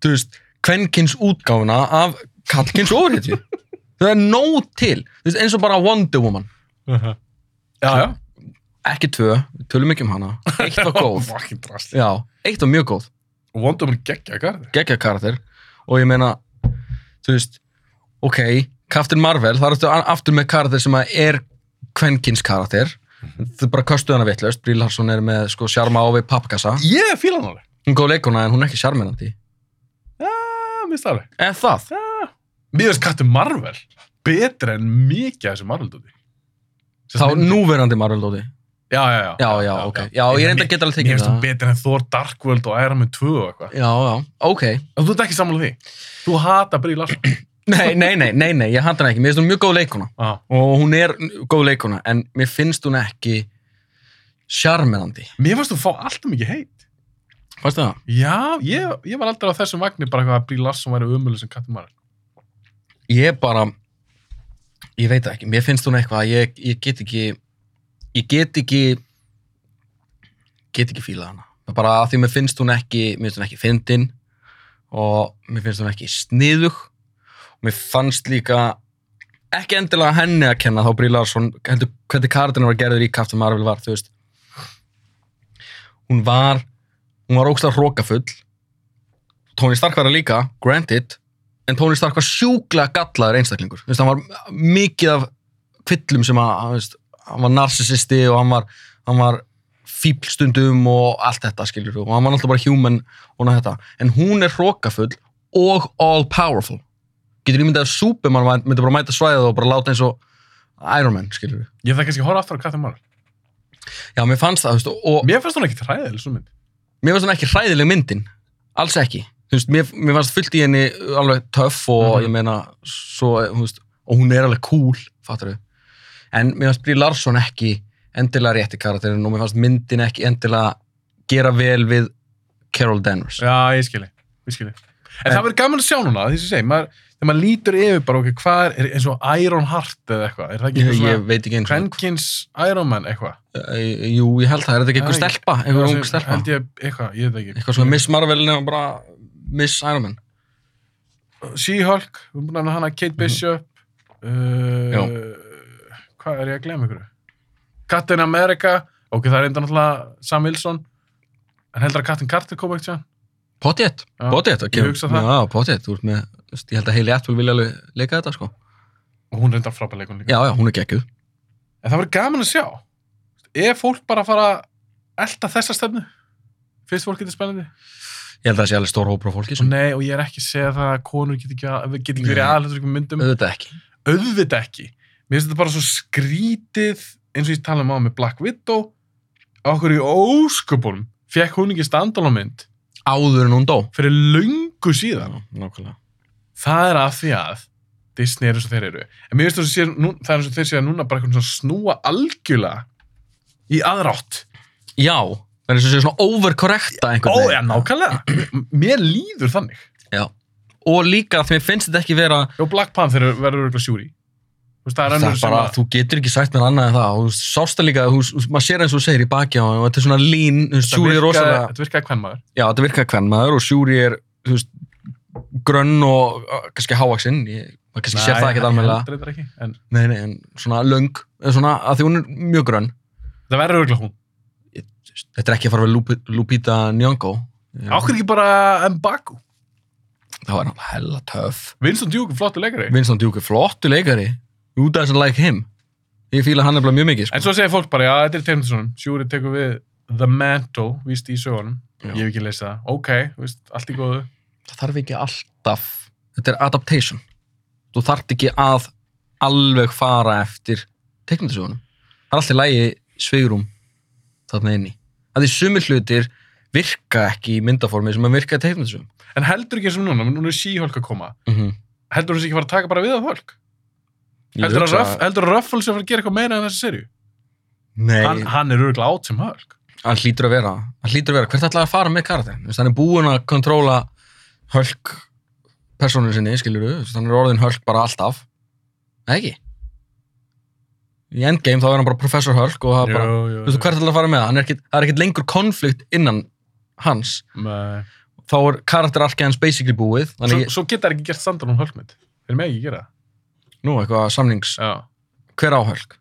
S2: þú veist, kvenkins útgáfuna af kallkins ofréttum. það er nóg til. Þú veist, eins og bara Wonder Woman. Uh-huh.
S1: já, já,
S2: Ekki tvö, við tölum ekki um hana. Eitt var góð.
S1: fucking drastli
S2: Já, eitt var mjög góð.
S1: og Wonder Woman geggja garður
S2: geggja karakter og ég meina, þú veist ok, Captain Marvel það er aftur, aftur með karakter sem að er kvenkins karakter þau bara kostuð hana vitlaust, Bríl Harsson er með sko sjarma á við pappkassa
S1: ég er fílan alveg
S2: hún er góð leikona en hún er ekki sjarmirandi
S1: já, minnst alveg
S2: en það,
S1: Mér finnst Captain Marvel betra en mikið af þessu Marvel dóti.
S2: þá núverandi Marvel dóti
S1: Já, já, já.
S2: já, já, ok, já, ég reynda að geta alveg
S1: Mér
S2: tekið
S1: finnst það
S2: það já,
S1: betra en Thor Dark World og Iron Man 2 og eitthvað.
S2: já, ok
S1: En þú ert ekki sammála því. Þú hata Brie Larson.
S2: nei, nei, nei, nei, nei, ég handa hana ekki mér finnst hún mjög góð leikona
S1: Já.
S2: og hún er góð leikona en mér finnst hún ekki sjarmirandi
S1: Mér finnst þú fá alltaf mikið heit.
S2: fannst það?
S1: Já, ég, ég var aldrei á þessum vagnir bara eitthvað að Brie Larson væri umölu sem Captain Marvel.
S2: ég bara ég veit það ekki, mér finnst hún eitthvað að ég, ég get ekki ég get ekki get ekki fílað hana Það er bara að því mér finnst hún ekki mér finnst hún ekki fyndin og mér finnst hún ekki sniðug og mér fannst líka ekki endilega henni að kenna þá Brí Larsson, heldur hvernig kardinu var gerður í Captain Marvel var, þú veist hún var hún var ógstlega hrókafull Tony Stark var það líka, granted en Tony Stark var sjúklega gallaður einstaklingur Þú veist, hann var mikið af kvillum sem að, hann, veist, hann var narcissisti og hann var, hann var fíbl stundum og allt þetta skilur og hann var náttúrulega bara human og ná þetta en hún er hrókafull og all powerful getur ímyndað að Superman væ- myndi bara mæta svæðið og bara láta eins og Iron Man skilur
S1: Ég þarf kannski að horfa aftur á Captain Marvel.
S2: já mér fannst það þú veist, og
S1: Mér finnst hún ekki træðileg svo mynd.
S2: mér fannst hún ekki hræðileg myndin alls ekki þú veist, mér, mér fannst fullt í henni alveg töff og
S1: Mhm.
S2: ég meina svo, þú veist, og hún er alveg cool fattar við, en mér fannst Brí Larsson ekki endilega rétti karakterin og mér fannst myndin ekki endilega gera vel við Carol Danvers
S1: Já, ég skilji. Ég skilji. En,
S2: En-
S1: það verður gaman að sjá núna, því sem ég segi, maður, þegar maður lítur yfir bara, ok, hvað er, er eins og Iron Heart eða eitthvað, er það ekki
S2: ég,
S1: eitthvað svona-
S2: ég veit ekki eins og
S1: Kvenkins Iron Man eitthvað
S2: Eh, jú, ég held það, er þetta ekki einhver
S1: Já, ég-
S2: stelpa einhver ung
S1: Sem-
S2: stelpa,
S1: held ég eitthvað, ég veit ekki
S2: eitthvað svona Miss Marvel nema bara Miss Iron Man
S1: She-Hulk, við erum búin að nefna hana Kate Bishop
S2: Mhm. Já.
S1: uh, hvað er ég að glemja ykkur Captain America ok, það er enda náttúrulega Sam Wilson en heldur að Captain Carter koma ekkert sér
S2: Potjett,
S1: Já,
S2: potjett
S1: ég hugsa það.
S2: Já, potjett, þú ert með þú veist, ég held að Hayley Atwell vilja alveg leika þetta sko
S1: og hún er enda frábæð leikun líka
S2: Já, já, hún er geggjuð.
S1: en það verður gaman að sjá er fólk bara að fara að elta þessa stefnu fyrst fólk getur spennandi
S2: Ég held að það sé alveg stór hópur af fólki
S1: og
S2: sem
S1: nei, og ég er ekki að segja það að konur get ekki, að- get ekki verið
S2: Nei.
S1: aðhaldur ykkur myndum
S2: auðvitað ekki.
S1: auðvitað ekki mér finnst þetta bara svo skrítið eins og ég tala um á með Black Widow á okkur í ósköpunum fekk hún ekki standalómynd
S2: Áður en hún dó.
S1: fyrir löngu síðan
S2: nákvæmlega.
S1: það er af því að Disney er eins og þeir eru en mér finnst þess að sé, nú, það er eins og þeir séu núna bara eitthvað svona snúa algjörlega í aðrátt
S2: Já, það er eins og sé svona overkorrekta einhvern
S1: ó, já, nákvæmlega M- mér líður þannig
S2: Og líka því mér finnst þetta ekki vera,
S1: og Black Panther verður eitthvað sjúri Þú veist, það er
S2: það
S1: önnur
S2: er
S1: sem
S2: bara,
S1: að
S2: þú getur ekki sagt mér annað en það. Og þú sást það líka, þú, þú- maður sér eins og þú segir í baki á hann og þetta er svona lín, þú veist,
S1: þetta
S2: Sjúri er
S1: virkaði-
S2: rosalega,
S1: þetta virkaði hvern maður
S2: já, þetta virkaði hvern maður og Sjúri er, þú veist, grönn og uh, kannski hávaksinn, ég, maður kannski sér það ekki alveg.
S1: alveg ekki, en
S2: Nei, nei, en svona löng, eða svona, að því hún er mjög grönn.
S1: það verður örgulega hún
S2: Þetta er ekki að fara við Lupita Nyong'o.
S1: Ákveð ekki bara Mbaku
S2: þá er hann hella töff
S1: Vincent Duke er flottu leikari.
S2: Vincent Duke er flottu leikari who doesn't like him ég fíla hann nefnilega mjög mikið
S1: En
S2: sko.
S1: svo segir fólk bara, já, þetta er Tindasson. Sjúri tekur við The Mantle, víst í sögunum.
S2: Já.
S1: Ég hef ekki leist það. Ok, víst, allt í góðu.
S2: það þarf ekki alltaf þetta er adaptation þú þarft ekki að alveg fara eftir teknindasögunum það er alltaf lægi sveigrum þarna inni að því sumir hlutir virka ekki í myndaformi sem að virka í teknindasögum
S1: En heldur ekki eins og núna, núna er síhölk að koma.
S2: mm -hmm.
S1: Heldur þessi ekki að fara að taka bara við af fólk? Heldur að, Ruff, heldur að Ruffles er að fara að gera eitthvað meira en þessi serju?
S2: Nei,
S1: Hann,
S2: hann,
S1: hann er örgulega átt sem hölk.
S2: hlýtur að vera hann hlýtur að vera, hvert ætlaði að fara með karakter Þú veist, hann er búinn að kontróla hölk persónu sinni, skilur þú hann er orðin hölk bara alltaf Nei, ekki í endgame þá er hann bara professor hölk og það er bara,
S1: jú,
S2: þú veist, hvert ætlaði að fara með það Hann er ekkit, það er ekkit lengur konflikt innan hans
S1: Nei.
S2: þá er karakterarkið hans basically búið
S1: Svo,
S2: þannig,
S1: svo geta þær ekki gert standan um hölkmynd. Þeir með ekki gera það.
S2: nú, eitthvað samnings
S1: Já.
S2: hver á hölk?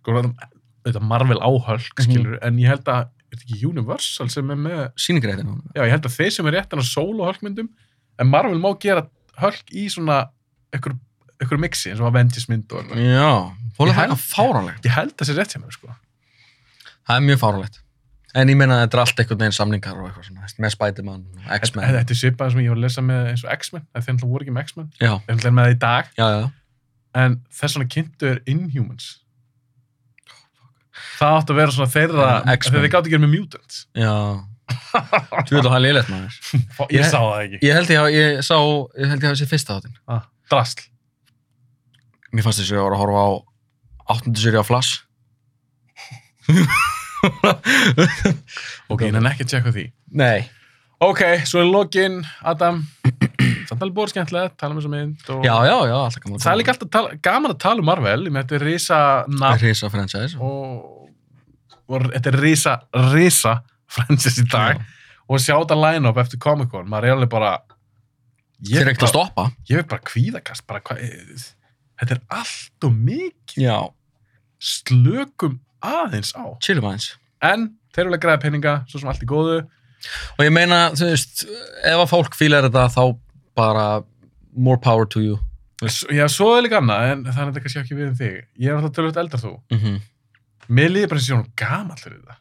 S1: Sko, þetta- Þetta Marvel á
S2: Mhm.
S1: hölk, skilur, en ég held að, er þetta ekki Universal sem er með
S2: síningreitin
S1: Já, ég held að þeir sem er réttan að sólu hölkmyndum, en Marvel má gera hölk í svona ykkur, ykkur mixi, eins og Avengers mynd og eitthvað.
S2: já,
S1: Ég
S2: fólk það
S1: held-
S2: er fáranlegt
S1: Ég held að sé rétt hjá mér, sko.
S2: það er mjög fáranlegt en ég meina að þetta er allt einhvern veginn samningar og eitthvað svona, veist, með Spiderman og
S1: En-
S2: X-Men
S1: en Þetta er svipað sem ég var að lesa með eins og X-Men, en þeir náttúrulega voru ekki með X-Men,
S2: já,
S1: þeir náttúrulega er með það í dag,
S2: já, já
S1: en þess vegna kynntu er Inhumans. Það átti að vera svona þeirra,
S2: Ja, X-Men.
S1: þegar þeir gáttu ekki með Mutants.
S2: Já. Þú veit að það er liðlegt maður.
S1: Fá- Ég
S2: Ég-
S1: sá það ekki.
S2: Ég held ég hafa, ég sá, ég held ég hafa sér fyrsta þáttinn.
S1: Ah, Drasl.
S2: Mér fannst þess að ég var að horfa á 8. seri á Flash.
S1: Ok, ég nenni ekki að tjekka á því.
S2: Nei.
S1: Ok, svo er lokin, Adam. Samt alveg búið skemmtilegt, tala um þessa mynd og...
S2: Já, já, já, alltaf gaman.
S1: Það er líka alltaf tala, gaman að tala um Marvel, ég með þetta er risa nafn
S2: Hrisa franchise.
S1: og, og þetta er risa, risa franchise í dag og sjá þetta line-up eftir Comic-Con, maður er alveg bara
S2: Þeir
S1: ég
S2: eru
S1: er
S2: ekkert
S1: bara,
S2: að stoppa.
S1: ég er bara kvíðakast, bara hvað, þetta er allt og mikið,
S2: Já.
S1: slökum aðeins á.
S2: Chillum aðeins.
S1: En þeir eru alveg græða peninga, svo sem allt í góðu,
S2: Og ég meina, þú veist, ef að fólk fílar þetta, þá bara more power to you.
S1: S- já, svo er líka annað, en það er þetta kannski ekki við um þig. Ég er alltaf tölvöld eldar þú.
S2: Mm -hmm.
S1: mér líður bara eins og ég er gamall fyrir þetta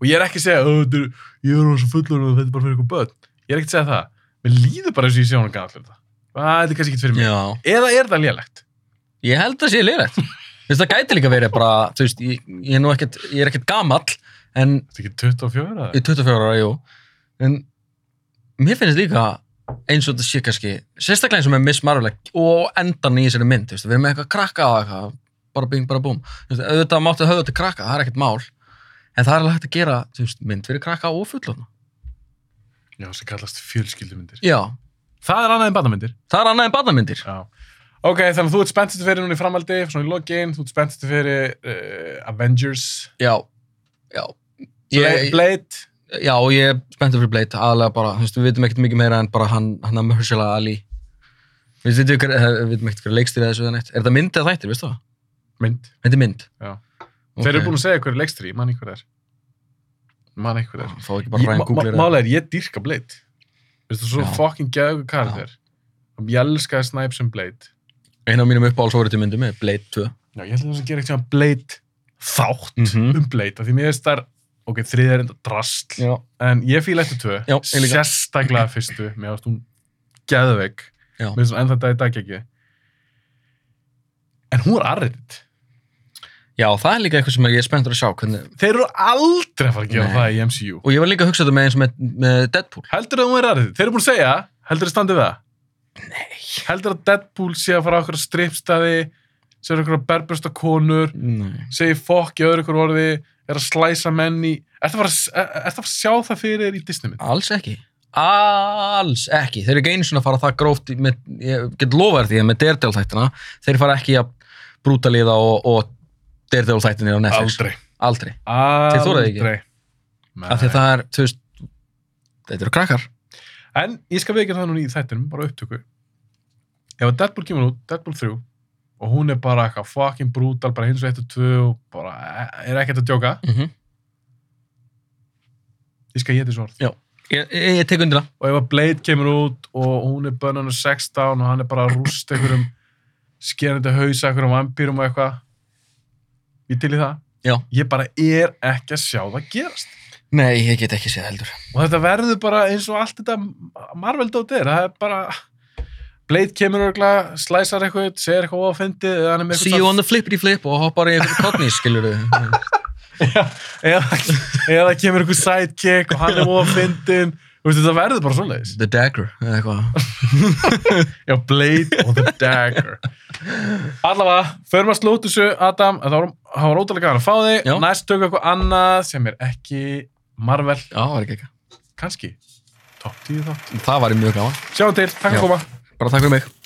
S1: og ég er ekki að segja "Ó, þetta er- ég er orðinn svo fullur og þetta er bara fyrir eitthvað börn ég er ekki að segja það, mér líður bara eins og ég sé honum gamall fyrir þetta Æ, þetta er kannski ekki fyrir mig
S2: Já.
S1: eða er það lélegt
S2: Ég held að sé liðlegt. Þú veist, það gæti líka verið bara, þú veist, ég, ég er nú ekkert, ég er ekkert gamall, en
S1: þetta er ekki 24 eða?
S2: í 24 ára, jú en mér finnst líka eins og þetta sé kannski sérstaklega eins og með Miss Marvel og endan í þessari mynd, þú veist, við erum með eitthvað krakka og eitthvað, bara bing, bara búm Þú veist, auðvitað máttu höfðu til krakka, það er ekkert mál en það er alveg hægt að gera, þú veist, mynd fyrir krakka og fullorna.
S1: já, sem kallast fjölskyldumyndir
S2: Já,
S1: það er annað en bandamyndir
S2: það er annað en badamyndir.
S1: já. ok, þannig að þú ert spenntist fyrir núna í framaldi svona í lokin, þú ert spenntist fyrir uh, Avengers,
S2: Já, já
S1: Blade, Blade.
S2: Já, ég er spenntur fyrir Blade, aðalega bara, þú veist, við veitum ekkert mikið meira en bara hann, hann að Mahershala Ali. Við veitum hver- eh, við vitum ekkert hver leikstýrið þessu eða neitt. Er þetta mynd eða þættir, veistu það?
S1: mynd
S2: Þetta er mynd.
S1: Já. þeir eru búin að segja hverju leikstri, mann einhver er mann einhver er
S2: að... Fá ekki bara ræðin googlir það.
S1: Málega er ég dýrka Blade Veistu, svo
S2: Já.
S1: fucking gæðu karakter og ég elskaði Snipes sem Blade
S2: Einn af mínum uppáhaldsóriðtum myndum er Blade 2.
S1: Já, ég ætla þess að gera eitthvað Blade þátt
S2: Mhm.
S1: um Blade, af því mér veist þar ok, þriðið er enda drast
S2: Já.
S1: en ég fíla eftir tvö,
S2: Já, ég líka.
S1: sérstaklega fyrstu mér varst hún gæðveik
S2: Já.
S1: mér finnst hún ennþá dag í dag ekki en hún er arriðið
S2: Já, það er líka eitthvað sem ég er spenntur að sjá. Hvernig...
S1: þeir eru aldrei að fara að gera
S2: Nei.
S1: það í MCU
S2: Og ég var líka að hugsa þetta með eins og með, með Deadpool.
S1: heldur að hún er arriðið, þeir eru búin að segja heldur að standið við það
S2: Nei.
S1: heldur að Deadpool sé að fara á okkur strippstæði sé okkur að berbrösta konur
S2: Nei.
S1: segi fokk í öðru ykkur orði er að slæsa menn í ertu að fara að s- er- ertu að fara að sjá það fyrir þér í Disney mynd
S2: Alls ekki. Alls ekki. Þeir eru ekki einu svona að fara það gróft, í- með, ég get lofaður því að með Daredevil þættina, þeir fara ekki að brúta liða og, og Daredevil þættinni á Netflix.
S1: aldrei
S2: Aldrei. Þið þorið ekki?
S1: aldrei Nei.
S2: Af því að það er, þú veist, þetta eru krakkar.
S1: en ég skal veikja það núna í þættinum bara á upptöku ef að Deadpool kemur út Deadpool 3 og hún er bara eitthvað fucking brutal bara hins og 1 og 2 og bara e-
S2: Mhm.
S1: eh, er ekkert að djóka
S2: Mm -hmm.
S1: ég skal geta þessu orð
S2: Já. Ég, ég, ég tek undir það.
S1: og ef að Blade kemur út og hún er bönnunum 16 og hann er bara að rústa einhverjum skerandi hausa, einhverjum vampýrum og eitthvað ég til í það
S2: Já.
S1: ég bara er ekki að sjá það gerast
S2: Nei, ég get ekki séð heldur.
S1: og þetta verður bara eins og allt þetta Marvel dót er, það er bara Blade kemur örgulega, slæsar eitthvað segir eitthvað ofindi eða hann er með
S2: See you on the flippity flip og hoppar í einhverju kotni, skilur þau.
S1: eða, eða kemur eitthvað sidekick og hann er ofindin Veistu, þetta verður bara svoleiðis
S2: The dagger, eða eitthvað.
S1: Já, Blade og the Dagger. Allavega, förum að slóta þessu, Adam, en það var, það var ótrúlega gæðan að fá þig.
S2: Já.
S1: Næst tökum við eitthvað annað sem er ekki Marvel,
S2: Já, það var ekki ekki.
S1: kannski. Top 10 þátt.
S2: Það var mjög gaman.
S1: Sjáum til, takk
S2: Já.
S1: að koma.
S2: Bara takk fyrir mig.